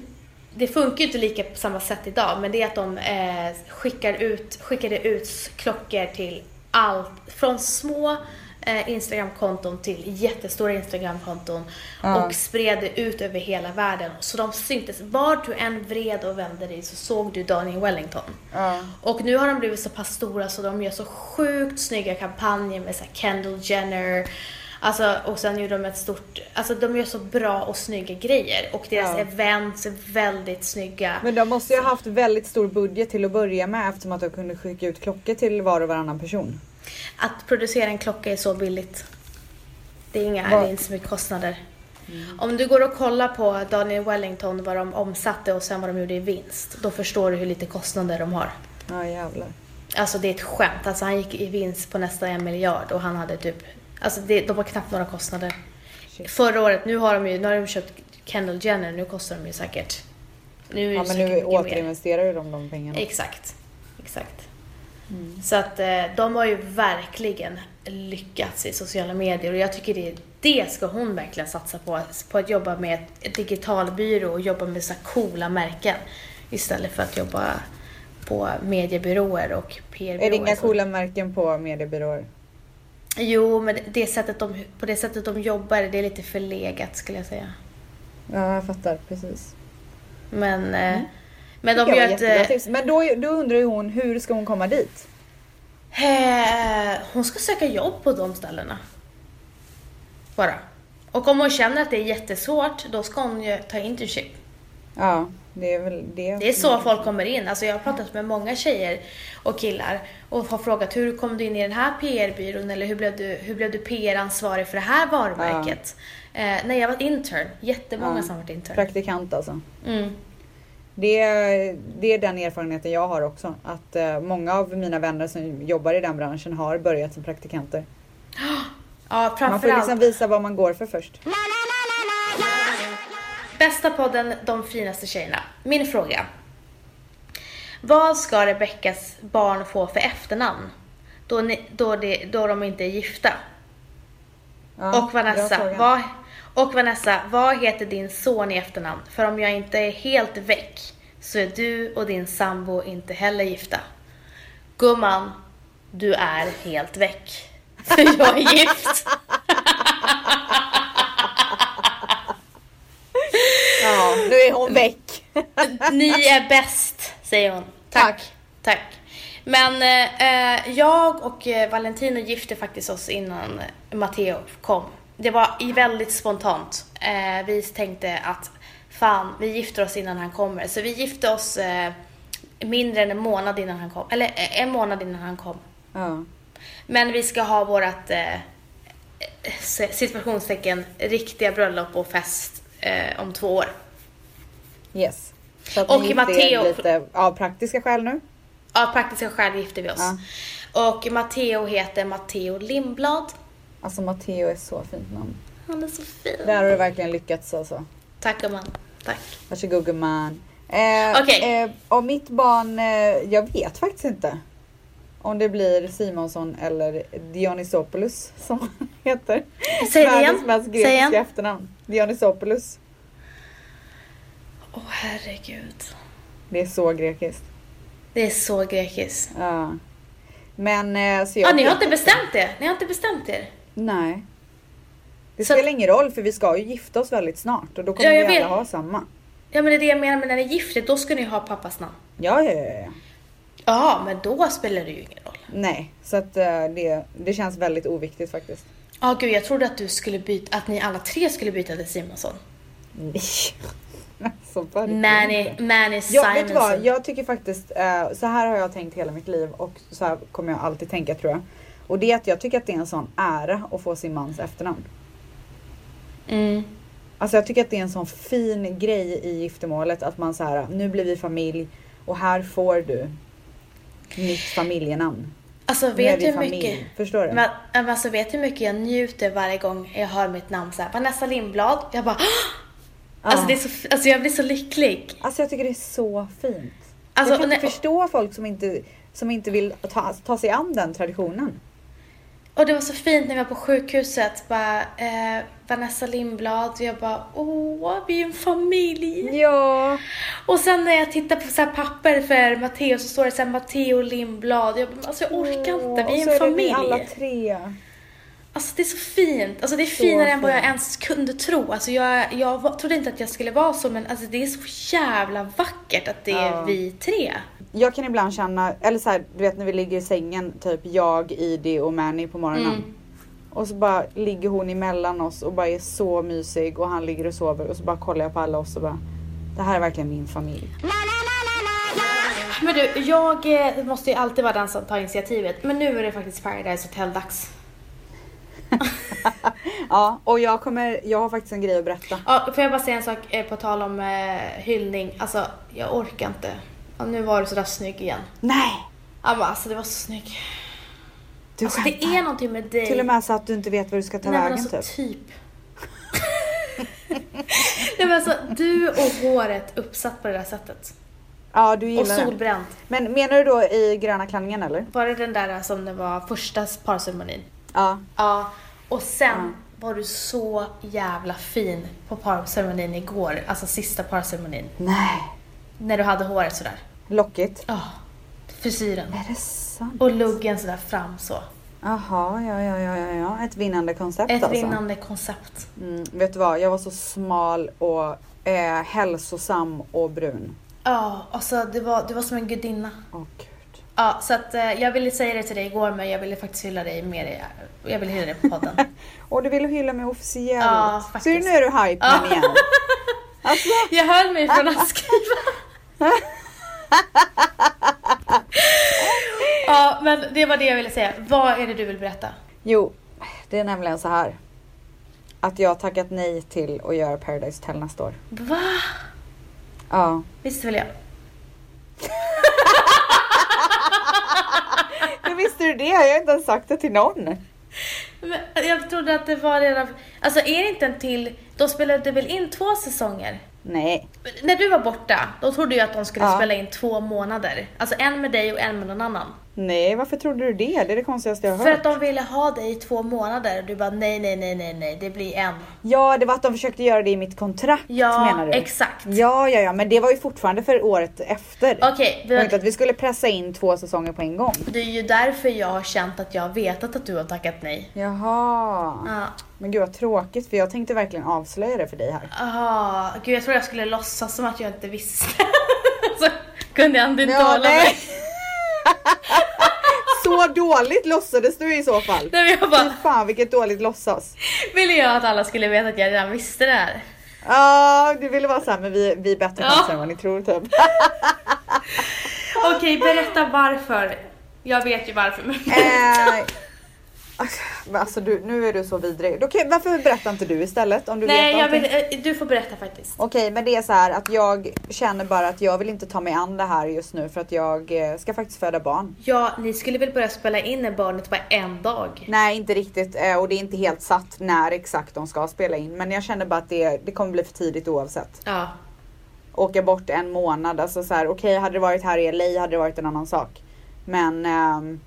[SPEAKER 2] det funkar ju inte lika på samma sätt idag, men det är att de eh, skickar ut, skickade ut klockor till allt, från små eh, Instagramkonton till jättestora Instagramkonton
[SPEAKER 1] Ja.
[SPEAKER 2] och spred det ut över hela världen. Så de syntes, var du än vred och vände dig så såg du Daniel Wellington.
[SPEAKER 1] Ja.
[SPEAKER 2] Och nu har de blivit så pass stora så de gör så sjukt snygga kampanjer med så här Kendall Jenner, Alltså, och sen gjorde de ett stort, alltså de gör så bra och snygga grejer och deras
[SPEAKER 1] Ja.
[SPEAKER 2] events är väldigt snygga.
[SPEAKER 1] Men de måste ju ha haft väldigt stor budget till att börja med eftersom att de kunde skicka ut klockor till var och varannan person.
[SPEAKER 2] Att producera en klocka är så billigt. Det är, inga, det
[SPEAKER 1] Vad- Mm.
[SPEAKER 2] är inte så mycket kostnader. Om du går och kollar på Daniel Wellington, vad de omsatte och sen vad de gjorde i vinst, då förstår du hur lite kostnader de har.
[SPEAKER 1] Ja jävlar.
[SPEAKER 2] Alltså det är ett skämt. Alltså han gick i vinst på nästan en miljard och han hade typ, alltså det, de har knappt några kostnader.
[SPEAKER 1] Shit.
[SPEAKER 2] Förra året, nu har de ju, nu har de köpt Kendall Jenner, nu kostar de ju säkert. Nu är det
[SPEAKER 1] Ja men
[SPEAKER 2] säkert
[SPEAKER 1] nu
[SPEAKER 2] mycket mer.
[SPEAKER 1] återinvesterar ju de de pengarna.
[SPEAKER 2] Exakt. Exakt.
[SPEAKER 1] Mm.
[SPEAKER 2] Så att eh, de har ju verkligen lyckats i sociala medier och jag tycker det, det ska hon verkligen satsa på. På att jobba med ett digital byrå och jobba med så här coola märken istället för att jobba på mediebyråer och PR-byråer.
[SPEAKER 1] Är det inga coola märken på mediebyråer?
[SPEAKER 2] Jo, men det sättet de, på det sättet de jobbar, det är lite förlegat skulle jag säga.
[SPEAKER 1] Ja jag fattar precis.
[SPEAKER 2] Men, eh,
[SPEAKER 1] Mm.
[SPEAKER 2] men de
[SPEAKER 1] Tycker jag
[SPEAKER 2] gör
[SPEAKER 1] var
[SPEAKER 2] ett...
[SPEAKER 1] jättebra
[SPEAKER 2] eh,
[SPEAKER 1] tips. Men då, då undrar ju hon hur ska hon komma dit?
[SPEAKER 2] Eh, hon ska söka jobb på de ställena. Bara. Och om hon känner att det är jättesvårt, då ska hon ju ta internship.
[SPEAKER 1] Ja det är väl det.
[SPEAKER 2] Det är så folk kommer in. Alltså jag har pratat med många tjejer och killar och har frågat hur kom du in i den här PR-byrån eller hur blev du, hur blev du PR-ansvarig för det här varumärket? Eh, nej, jag var intern. Jättemånga
[SPEAKER 1] Ja.
[SPEAKER 2] som har varit intern.
[SPEAKER 1] Praktikant alltså.
[SPEAKER 2] Mm.
[SPEAKER 1] Det är, det är den erfarenheten jag har också. Att eh, många av mina vänner som jobbar i den branschen har börjat som praktikanter.
[SPEAKER 2] Ja,
[SPEAKER 1] Man får ju
[SPEAKER 2] framförallt.
[SPEAKER 1] liksom visa vad man går för först.
[SPEAKER 2] Bästa podden, de finaste tjejerna. Min fråga. Vad ska Rebeckas barn få för efternamn? Då, ni, då, det, då de inte är gifta.
[SPEAKER 1] Ja,
[SPEAKER 2] och,
[SPEAKER 1] bra
[SPEAKER 2] Vanessa,
[SPEAKER 1] fråga.
[SPEAKER 2] vad, och Vanessa, vad heter din son i efternamn? För om jag inte är helt väck så är du och din sambo inte heller gifta. Gumman, du är helt väck. För jag är gift.
[SPEAKER 1] Ja, nu är hon väck.
[SPEAKER 2] Ni är bäst, säger hon. Tack.
[SPEAKER 1] Tack.
[SPEAKER 2] Tack. Men eh, jag och eh, Valentino gifte faktiskt oss innan Matteo kom. Det var i väldigt spontant. Eh, vi tänkte att fan, vi gifter oss innan han kommer. Så vi gifte oss eh, mindre än en månad innan han kom. Eller eh, en månad innan han kom.
[SPEAKER 1] Ja.
[SPEAKER 2] Men vi ska ha vårat eh, eh, situationstecken riktiga bröllop och fest eh, om två år.
[SPEAKER 1] Yes. Så att
[SPEAKER 2] Och
[SPEAKER 1] ni inte
[SPEAKER 2] Matteo-
[SPEAKER 1] är Lite, av praktiska skäl nu.
[SPEAKER 2] Av praktiska skäl gifte vi oss. Och Matteo heter Matteo Lindblad.
[SPEAKER 1] Alltså Matteo är så fint namn.
[SPEAKER 2] Han är så fin.
[SPEAKER 1] Där har du verkligen lyckats alltså.
[SPEAKER 2] Tack gumman. Tack.
[SPEAKER 1] Varsågod gumman. Eh,
[SPEAKER 2] Okej.
[SPEAKER 1] eh, om mitt barn, eh, jag vet faktiskt inte. Om det blir Simonsson eller Dionysopoulos som han heter.
[SPEAKER 2] Säg det
[SPEAKER 1] Världens
[SPEAKER 2] igen.
[SPEAKER 1] mest
[SPEAKER 2] Säg
[SPEAKER 1] grekiska
[SPEAKER 2] igen.
[SPEAKER 1] efternamn. Dionysopoulos.
[SPEAKER 2] Åh herregud.
[SPEAKER 1] Det är så grekiskt.
[SPEAKER 2] Det är så grekiskt.
[SPEAKER 1] Ja. Men eh, så jag
[SPEAKER 2] Ah, ni har
[SPEAKER 1] vet-
[SPEAKER 2] inte bestämt det? Ni har inte bestämt er?
[SPEAKER 1] Nej. Det
[SPEAKER 2] Så-
[SPEAKER 1] spelar ingen roll för vi ska ju gifta oss väldigt snart och då kommer
[SPEAKER 2] Ja, jag
[SPEAKER 1] vi alla
[SPEAKER 2] vet.
[SPEAKER 1] ha samma.
[SPEAKER 2] Ja men det är det jag menar med när ni är gifter, då ska ni ha pappas namn.
[SPEAKER 1] Ja, ja, ja, ja.
[SPEAKER 2] Ja, men då spelar det ju ingen roll.
[SPEAKER 1] Nej, så att eh, det, det känns väldigt oviktigt faktiskt.
[SPEAKER 2] Ja gud, jag trodde att du skulle byta, att ni alla tre skulle byta till Simonsson.
[SPEAKER 1] Nej. så var det inte.
[SPEAKER 2] Manny, Manny
[SPEAKER 1] Ja, vet du vad?
[SPEAKER 2] Simonsson.
[SPEAKER 1] Jag tycker faktiskt, eh, så här har jag tänkt hela mitt liv och så här kommer jag alltid tänka tror jag. Och det är att jag tycker att det är en sån ära att få sin mans efternamn.
[SPEAKER 2] Mm.
[SPEAKER 1] Alltså jag tycker att det är en sån fin grej i giftermålet att man så här, nu blir vi familj och här får du mitt familjenamn.
[SPEAKER 2] Alltså
[SPEAKER 1] Nu är
[SPEAKER 2] vet
[SPEAKER 1] vi
[SPEAKER 2] du hur
[SPEAKER 1] familj.
[SPEAKER 2] mycket...
[SPEAKER 1] Förstår du?
[SPEAKER 2] Men, men alltså vet du hur mycket jag njuter varje gång jag hör mitt namn såhär, Vanessa Lindblad. Jag bara "Åh!" Alltså,
[SPEAKER 1] Ja.
[SPEAKER 2] det är så, alltså jag blir så lycklig.
[SPEAKER 1] Alltså jag tycker det är så fint.
[SPEAKER 2] Alltså,
[SPEAKER 1] jag kan
[SPEAKER 2] nej,
[SPEAKER 1] inte förstå folk som inte, som inte vill ta, ta sig an den traditionen.
[SPEAKER 2] Och det var så fint när vi var på sjukhuset. Bara, eh, Vanessa Lindblad. Och jag bara, åh, vi är en familj.
[SPEAKER 1] Ja.
[SPEAKER 2] Och sen när jag tittar på så här papper för Matteo så står det såhär Matteo Lindblad. Jag, bara, alltså jag orkar inte, vi är en familj.
[SPEAKER 1] Det vi alla tre.
[SPEAKER 2] Alltså det är så fint. Alltså det är finare än vad jag
[SPEAKER 1] fint.
[SPEAKER 2] ens kunde tro. Alltså jag, jag var- trodde inte att jag skulle vara så men alltså det är så jävla vackert att det är
[SPEAKER 1] Ja.
[SPEAKER 2] vi tre.
[SPEAKER 1] Jag kan ibland
[SPEAKER 2] Mm.
[SPEAKER 1] känna, eller så här, du vet när vi ligger i sängen, typ jag, Idi och Manny på morgonen. Och så bara ligger hon emellan oss och bara är så mysig och han ligger och sover och så bara kollar jag på alla oss och bara Det här är verkligen min familj.
[SPEAKER 2] Men du, jag eh, måste ju alltid vara den som tar initiativet. Men nu är det faktiskt Paradise Hotel-dags.
[SPEAKER 1] Ja, och jag kommer, jag har faktiskt en grej att berätta.
[SPEAKER 2] Ja, får jag bara säga en sak eh, på tal om eh, hyllning. Alltså, jag orkar inte. Ja, nu var du sådär snygg igen.
[SPEAKER 1] Nej!
[SPEAKER 2] Ja, men alltså det var så snygg.
[SPEAKER 1] Du
[SPEAKER 2] Alltså, det
[SPEAKER 1] skämtar.
[SPEAKER 2] är någonting med dig.
[SPEAKER 1] Till och med så att du inte vet var du ska ta
[SPEAKER 2] Nej, men
[SPEAKER 1] vägen
[SPEAKER 2] alltså,
[SPEAKER 1] typ.
[SPEAKER 2] typ. Nej men alltså, du och håret uppsatt på det där sättet.
[SPEAKER 1] Ja, du
[SPEAKER 2] Och
[SPEAKER 1] gillar det.
[SPEAKER 2] solbränt.
[SPEAKER 1] Men menar du då i gröna klänningen eller?
[SPEAKER 2] Var det den där som det var första parceremonin?
[SPEAKER 1] Ja.
[SPEAKER 2] Ja. Och sen var du så jävla fin på parceremonin igår, alltså sista parceremonin.
[SPEAKER 1] Nej.
[SPEAKER 2] När du hade håret sådär.
[SPEAKER 1] Lockigt.
[SPEAKER 2] Ja. Frisyren.
[SPEAKER 1] Är det sant?
[SPEAKER 2] Och luggen sådär fram så.
[SPEAKER 1] Jaha, ja, ja, ja, ja, ja. Ett vinnande koncept
[SPEAKER 2] Ett
[SPEAKER 1] alltså.
[SPEAKER 2] vinnande koncept.
[SPEAKER 1] Mm, vet du vad, jag var så smal och eh, hälsosam och brun.
[SPEAKER 2] Ja, alltså det var, det var som en gudinna.
[SPEAKER 1] Åh gud.
[SPEAKER 2] Ja, så att eh, jag ville säga det till dig igår men jag ville faktiskt hylla dig mer i, jag ville hylla dig på podden.
[SPEAKER 1] Och du ville hylla mig officiellt.
[SPEAKER 2] Ja,
[SPEAKER 1] Ser du
[SPEAKER 2] faktiskt.
[SPEAKER 1] nu är du hype
[SPEAKER 2] Ja.
[SPEAKER 1] igen. Alltså,
[SPEAKER 2] Jag höll mig från att skriva. ja, men det var det jag ville säga. Vad är det du vill berätta?
[SPEAKER 1] jo, det är nämligen så här. Att jag har tackat nej till att göra Paradise Hotel nästa år.
[SPEAKER 2] Va?
[SPEAKER 1] Ja.
[SPEAKER 2] Visste väl jag.
[SPEAKER 1] Hur visste du det? Jag har inte ens sagt det till någon.
[SPEAKER 2] Men jag trodde att det var redan... Alltså är det inte en till... De spelade väl in två säsonger?
[SPEAKER 1] Nej.
[SPEAKER 2] Men När du var borta, då trodde jag att de skulle
[SPEAKER 1] Ja.
[SPEAKER 2] spela in två månader. Alltså en med dig och en med någon annan.
[SPEAKER 1] Nej, varför trodde du det? Det är det konstigaste jag har
[SPEAKER 2] För
[SPEAKER 1] hört.
[SPEAKER 2] att de ville ha dig i två månader och du bara nej, nej, nej, nej, nej, det blir en.
[SPEAKER 1] Ja, det var att de försökte göra det i mitt kontrakt
[SPEAKER 2] Ja,
[SPEAKER 1] menar du?
[SPEAKER 2] exakt.
[SPEAKER 1] Ja, ja, ja, men det var ju fortfarande för året efter.
[SPEAKER 2] Okej, vi
[SPEAKER 1] Det var
[SPEAKER 2] har
[SPEAKER 1] inte att vi skulle pressa in två säsonger på en gång.
[SPEAKER 2] Det är ju därför jag har känt att jag har vetat att du har tackat nej.
[SPEAKER 1] Jaha.
[SPEAKER 2] Ja.
[SPEAKER 1] Men gud vad tråkigt för jag tänkte verkligen avslöja det för dig här.
[SPEAKER 2] Ah, gud jag tror jag skulle låtsas som att jag inte visste. så kunde jag ändå inte
[SPEAKER 1] Ja,
[SPEAKER 2] hålla
[SPEAKER 1] nej.
[SPEAKER 2] mig.
[SPEAKER 1] Så dåligt låtsades du i så fall.
[SPEAKER 2] Nej, men jag
[SPEAKER 1] Fy
[SPEAKER 2] bara,
[SPEAKER 1] fan vilket dåligt låtsas.
[SPEAKER 2] ville jag att alla skulle veta att jag redan visste det här.
[SPEAKER 1] Ja, du ville vara såhär men vi, vi är bättre
[SPEAKER 2] Ja.
[SPEAKER 1] chanser än vad ni tror typ.
[SPEAKER 2] Okej, berätta varför. Jag vet ju varför men...
[SPEAKER 1] Eh, men alltså du, nu är du så vidrig. Då kan, varför berättar inte du istället om du vet
[SPEAKER 2] nej, jag
[SPEAKER 1] allting?
[SPEAKER 2] vill, eh, du får berätta faktiskt.
[SPEAKER 1] Okej, men det är så här att jag känner bara att jag vill inte ta mig an det här just nu för att jag eh, ska faktiskt föda barn.
[SPEAKER 2] Ja, ni skulle väl börja spela in när barnet var en dag?
[SPEAKER 1] Nej, inte riktigt eh, och det är inte helt satt när exakt de ska spela in, men jag känner bara att det, det kommer bli för tidigt oavsett.
[SPEAKER 2] Ja.
[SPEAKER 1] Åka bort en månad, alltså så här, okej, hade det varit här i LA hade det varit en annan sak, men ehm,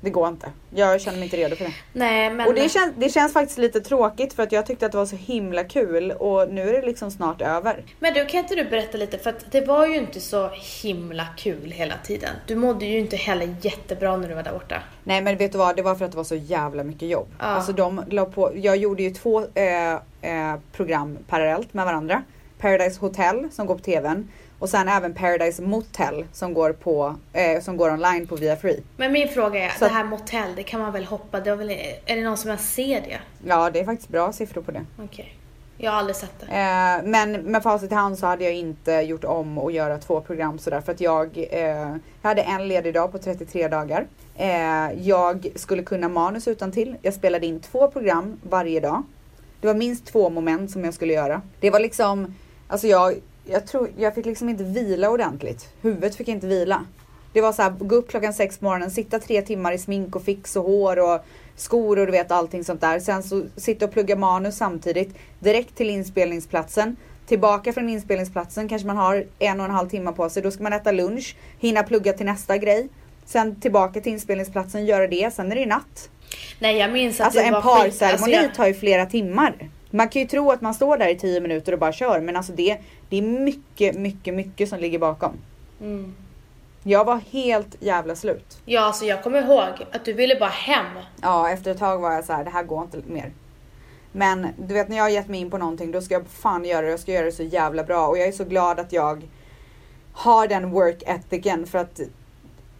[SPEAKER 1] det går inte. Jag känner mig inte redo för det.
[SPEAKER 2] Nej, men...
[SPEAKER 1] Och det, kän, det känns faktiskt lite tråkigt för att jag tyckte att det var så himla kul och nu är det liksom snart över.
[SPEAKER 2] Men du, kan inte du berätta lite? För att det var ju inte så himla kul hela tiden. Du mådde ju inte heller jättebra när du var där borta.
[SPEAKER 1] Nej men vet du vad, det var för att det var så jävla mycket jobb.
[SPEAKER 2] Ja.
[SPEAKER 1] Alltså de la på, jag gjorde ju två eh, eh, program parallellt med varandra. Paradise Hotel som går på TVn och sen även Paradise Motel som går, på, eh, som går online på Via Free.
[SPEAKER 2] Men min fråga är,
[SPEAKER 1] Så
[SPEAKER 2] det
[SPEAKER 1] att-
[SPEAKER 2] här motell, det kan man väl hoppa? Det var väl, är det någon som ens ser det?
[SPEAKER 1] Ja det är faktiskt bra siffror på det.
[SPEAKER 2] Okej. Jag har aldrig sett det.
[SPEAKER 1] Eh, men med facit i hand så hade jag inte gjort om och göra två program sådär för att jag, eh, jag hade en ledig dag på 33 dagar. Eh, jag skulle kunna manus utan till. Jag spelade in två program varje dag. Det var minst två moment som jag skulle göra. Det var liksom, alltså jag, jag tror, jag fick liksom inte vila ordentligt. Huvudet fick inte vila. Det var så här, gå upp klockan sex på morgonen, sitta tre timmar i smink och fix och hår och skor och du vet allting sånt där. Sen så sitta och plugga manus samtidigt, direkt till inspelningsplatsen. Tillbaka från inspelningsplatsen kanske man har en och en halv timme på sig. Då ska man äta lunch, hinna plugga till nästa grej. Sen tillbaka till inspelningsplatsen, göra det. Sen är det ju natt.
[SPEAKER 2] Nej, jag minns att
[SPEAKER 1] Alltså
[SPEAKER 2] du
[SPEAKER 1] en
[SPEAKER 2] var
[SPEAKER 1] parceremoni
[SPEAKER 2] Alltså,
[SPEAKER 1] tar ju flera timmar. Man kan ju tro att man står där i 10 minuter och bara kör men alltså det, det är mycket, mycket, mycket som ligger bakom.
[SPEAKER 2] jag, mm.
[SPEAKER 1] Jag var helt jävla slut.
[SPEAKER 2] Ja, alltså jag kommer ihåg att du ville bara hem.
[SPEAKER 1] Ja, efter ett tag var jag så här, det här går inte mer. Men du vet när jag har gett mig in på någonting då ska jag fan göra det. Jag ska göra det så jävla bra och jag är så glad att jag har den work ethicen för att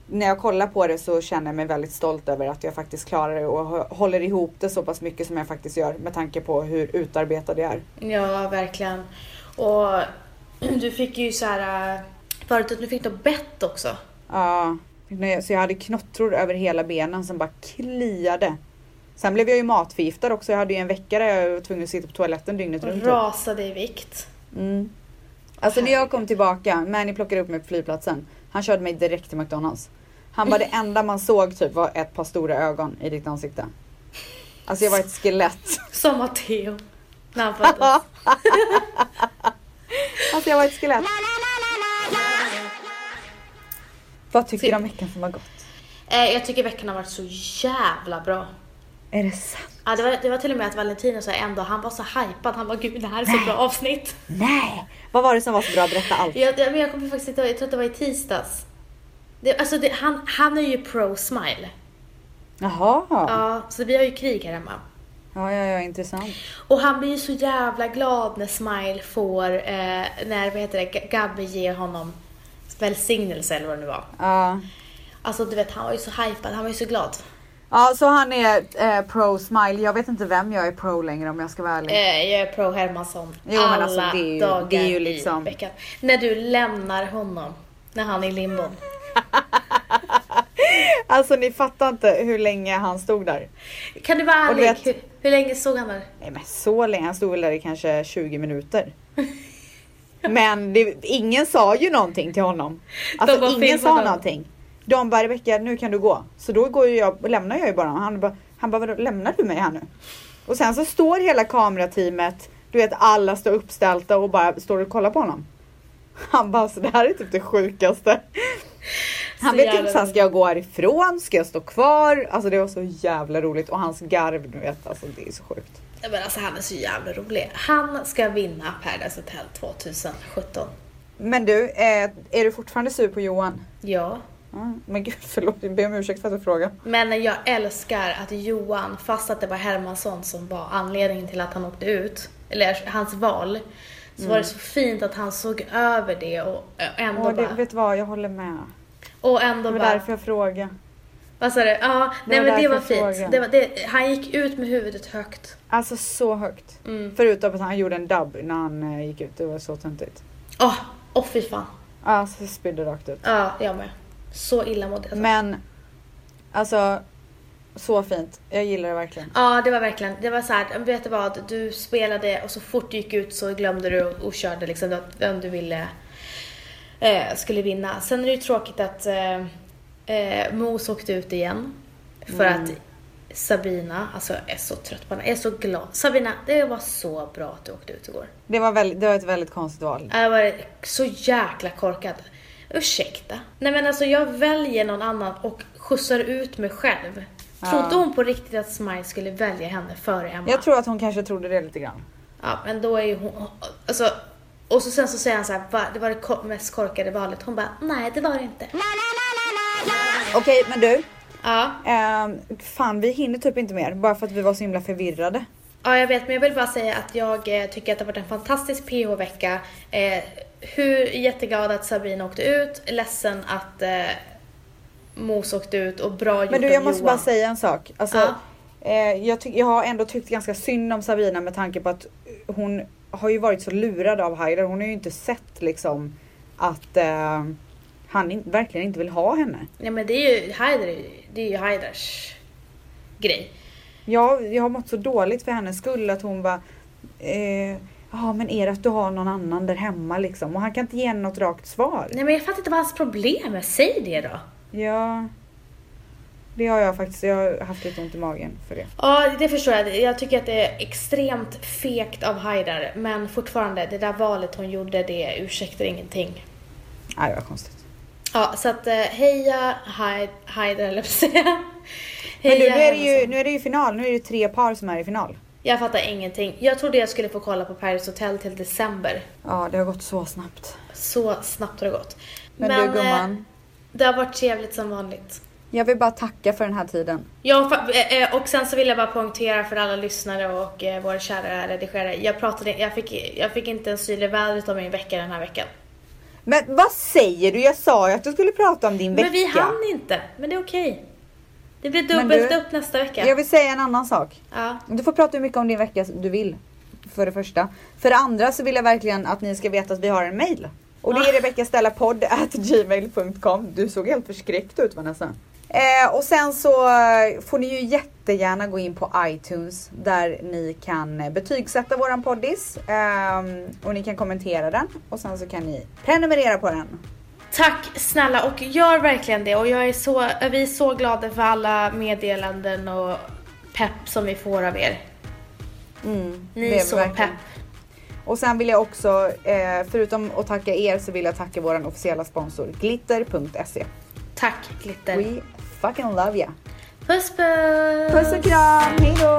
[SPEAKER 1] när jag kollar på det så känner jag mig väldigt stolt över att jag faktiskt klarar det och hå- håller ihop det så pass mycket som jag faktiskt gör med tanke på hur utarbetad jag är.
[SPEAKER 2] Ja, verkligen. Och du fick ju så här... äh, Förut att du fick då bett också.
[SPEAKER 1] Ja, när jag- så jag hade knottror över hela benen som bara kliade. Sen blev jag ju matförgiftad också. Jag hade ju en vecka där jag var tvungen att sitta på toaletten dygnet runt. typ.
[SPEAKER 2] Rasade i vikt.
[SPEAKER 1] Mm. Alltså när jag kom tillbaka, Manny plockade upp mig på flygplatsen. Han körde mig direkt till McDonalds. Han bara det enda man såg typ var ett par stora ögon i ditt ansikte. Alltså jag var ett skelett.
[SPEAKER 2] Som Matteo. När han föddes.
[SPEAKER 1] Alltså jag var ett skelett. Vad tycker du om veckan som har gått?
[SPEAKER 2] Eh, Jag tycker veckan har varit så jävla bra.
[SPEAKER 1] Är det sant?
[SPEAKER 2] Ja, det, var, det var till och med att Valentino sa en dag, han var så hypad, han var gud det här är så bra avsnitt.
[SPEAKER 1] Nej! Vad var det som var så bra? Berätta allt.
[SPEAKER 2] Jag, jag, men jag kommer faktiskt inte ihåg, jag tror att det var i tisdags. Det, alltså det, han, han är ju pro smile.
[SPEAKER 1] Jaha.
[SPEAKER 2] Ja, så vi har ju krig här hemma.
[SPEAKER 1] Ja, ja, ja, intressant.
[SPEAKER 2] Och han blir ju så jävla glad när Smile får, eh, när vad heter det, G- Gabby ger honom välsignelse eller vad det nu var.
[SPEAKER 1] Ja.
[SPEAKER 2] Alltså du vet, han var ju så hypad, han var ju så glad.
[SPEAKER 1] Ja, så han är eh, pro smile. Jag vet inte vem jag är pro längre om jag ska vara ärlig.
[SPEAKER 2] Eh, jag är pro Hermansson
[SPEAKER 1] Jo, men
[SPEAKER 2] alla
[SPEAKER 1] alltså, det är ju-
[SPEAKER 2] dagar
[SPEAKER 1] det är ju liksom-
[SPEAKER 2] i veckan. När du lämnar honom, när han är i limbon.
[SPEAKER 1] Alltså ni fattar inte hur länge han stod där.
[SPEAKER 2] Kan du vara
[SPEAKER 1] Och du
[SPEAKER 2] ärlig,
[SPEAKER 1] vet-
[SPEAKER 2] hur, hur länge såg han där?
[SPEAKER 1] Nej men så länge, han stod väl där i kanske 20 minuter. Men det, ingen sa ju någonting till honom. Alltså
[SPEAKER 2] De bara
[SPEAKER 1] ingen sa
[SPEAKER 2] filmade honom.
[SPEAKER 1] någonting. De bara Rebecka nu kan du gå. Så då går ju jag, lämnar jag ju bara honom. Han bara, han bara "Vadå, lämnar du mig här nu? Och sen så står hela kamerateamet, du vet alla står uppställda och bara står och kollar på honom. Han bara så det här är typ det sjukaste. Han
[SPEAKER 2] Så
[SPEAKER 1] vet ju
[SPEAKER 2] jävla
[SPEAKER 1] inte så här,
[SPEAKER 2] roligt.
[SPEAKER 1] ska jag gå härifrån? Ska jag stå kvar? Alltså det var så jävla roligt och hans garv du vet, alltså det är så sjukt.
[SPEAKER 2] Nej, Men alltså han är så jävla rolig. Han ska vinna Paradise Hotel 2017.
[SPEAKER 1] Men du, eh, är du fortfarande sur på Johan?
[SPEAKER 2] Ja.
[SPEAKER 1] Mm. Men gud förlåt, jag ber om ursäkt för att jag frågar.
[SPEAKER 2] Men jag älskar att Johan, fast att det var Hermansson som var anledningen till att han åkte ut, eller hans val, så
[SPEAKER 1] Mm.
[SPEAKER 2] var det så fint att han såg över det och ändå
[SPEAKER 1] Och det,
[SPEAKER 2] bara...
[SPEAKER 1] vet du vad, jag håller med.
[SPEAKER 2] Och
[SPEAKER 1] Det
[SPEAKER 2] ändå
[SPEAKER 1] var
[SPEAKER 2] bara...
[SPEAKER 1] därför jag frågade.
[SPEAKER 2] Vad sa du? Ja, nej
[SPEAKER 1] var
[SPEAKER 2] men
[SPEAKER 1] därför
[SPEAKER 2] det var
[SPEAKER 1] jag frågade.
[SPEAKER 2] fint. Det var, det, han gick ut med huvudet högt.
[SPEAKER 1] Alltså så högt.
[SPEAKER 2] Mm.
[SPEAKER 1] Förutom att han gjorde en dubb när han eh, gick ut, det var så töntigt.
[SPEAKER 2] Åh, åh fy fan.
[SPEAKER 1] Alltså jag spydde rakt ut.
[SPEAKER 2] Ja, jag med. Så illa mådde jag. Ja,
[SPEAKER 1] Men, alltså så fint. Jag gillar det verkligen.
[SPEAKER 2] det var verkligen, det var så här, vet du vad? Du spelade och så fort du gick ut så glömde du och, och körde liksom att vem du ville eh, skulle vinna. Sen är det ju tråkigt att eh, eh, Mos åkte ut igen. För
[SPEAKER 1] Mm.
[SPEAKER 2] att Sabina, alltså jag är så trött på henne, jag är så glad. Sabina, det var så bra att du åkte ut igår.
[SPEAKER 1] Det var, väldigt, det var ett väldigt konstigt val.
[SPEAKER 2] Jag var så jäkla korkad. Ursäkta. Nej men alltså jag väljer någon annan och skjutsar ut mig själv. Trodde hon på riktigt att Smile skulle välja henne före Emma?
[SPEAKER 1] Jag tror att hon kanske trodde det lite grann.
[SPEAKER 2] Ja men då är ju hon... Alltså, och så sen så säger han så här, "Va, det var det ko- mest korkade valet. Hon bara, nej det var det inte.
[SPEAKER 1] Okej men du,
[SPEAKER 2] Ja.
[SPEAKER 1] ehm, fan vi hinner typ inte mer bara för att vi var så himla förvirrade.
[SPEAKER 2] ja, jag vet men jag vill bara säga att jag eh, tycker att det har varit en fantastisk PH-vecka. Eh, hur jätteglad att Sabine åkte ut, ledsen att eh, Mos åkte ut och bra gjort
[SPEAKER 1] Men du
[SPEAKER 2] av
[SPEAKER 1] jag måste
[SPEAKER 2] Johan.
[SPEAKER 1] bara säga en sak. Alltså,
[SPEAKER 2] Ja.
[SPEAKER 1] eh, jag, tyck- jag har ändå tyckt ganska synd om Sabina med tanke på att hon har ju varit så lurad av Haider. Hon har ju inte sett liksom att eh, han in, verkligen inte vill ha henne.
[SPEAKER 2] Nej men det är ju Haider, det är ju Haiders grej.
[SPEAKER 1] Jag, jag har mått så dåligt för hennes skull att hon bara eh, Ja men är det att du har någon annan där hemma liksom och han kan inte ge henne något rakt svar.
[SPEAKER 2] Nej men jag fattar inte vad hans problem är, säg det då.
[SPEAKER 1] Ja. Det har jag faktiskt, jag har haft lite ont i magen för det.
[SPEAKER 2] Ja det förstår jag, jag tycker att det är extremt fegt av Haidar men fortfarande det där valet hon gjorde det ursäktar ingenting.
[SPEAKER 1] Nej det var konstigt.
[SPEAKER 2] Ja så att eh, heja Hai- Haidar eller jag säga.
[SPEAKER 1] Men du, nu är, det
[SPEAKER 2] Hermansson.
[SPEAKER 1] ju, nu är det ju final, nu är det ju tre par som är i final.
[SPEAKER 2] Jag fattar ingenting. Jag trodde jag skulle få kolla på Paris Hotel till december.
[SPEAKER 1] Ja, det har gått så snabbt.
[SPEAKER 2] Så snabbt har det gått.
[SPEAKER 1] Men, du
[SPEAKER 2] eh,
[SPEAKER 1] gumman,
[SPEAKER 2] det har varit trevligt som vanligt.
[SPEAKER 1] jag vill bara tacka för den här tiden.
[SPEAKER 2] Ja, fa- eh, eh, och sen så vill jag bara poängtera för alla lyssnare och eh, vår kära redigerare. Jag, pratade, jag, fick, jag fick inte en syl i vädret om min vecka den här veckan.
[SPEAKER 1] Men vad säger du? Jag sa ju att du skulle prata om din vecka.
[SPEAKER 2] Men vi hann inte, men det är okej. Det blir
[SPEAKER 1] Men
[SPEAKER 2] dubbelt
[SPEAKER 1] du-
[SPEAKER 2] upp nästa vecka.
[SPEAKER 1] Jag vill säga en annan sak.
[SPEAKER 2] Ja.
[SPEAKER 1] Du får prata hur mycket om din vecka du vill. För det första. För det andra så vill jag verkligen att ni ska veta att vi har en mail. Och det
[SPEAKER 2] Ah.
[SPEAKER 1] är rebeckastellapodd.gmail.com Du såg helt förskräckt ut Vanessa. Eh, och sen så eh, får ni ju jättegärna gå in på iTunes där ni kan eh, betygsätta våran poddis. ehm, och ni kan kommentera den och sen så kan ni prenumerera på den.
[SPEAKER 2] Tack snälla och gör verkligen det och jag är så, eh, vi är så glada för alla meddelanden och pepp som vi får av er.
[SPEAKER 1] Mm,
[SPEAKER 2] Ni
[SPEAKER 1] det
[SPEAKER 2] är så
[SPEAKER 1] verkligen.
[SPEAKER 2] pepp.
[SPEAKER 1] Och sen vill jag också, eh, förutom att tacka er så vill jag tacka våran officiella sponsor glitter.se.
[SPEAKER 2] Tack Glitter.
[SPEAKER 1] We fucking love ya.
[SPEAKER 2] Puss puss!
[SPEAKER 1] Puss och kram, hejdå!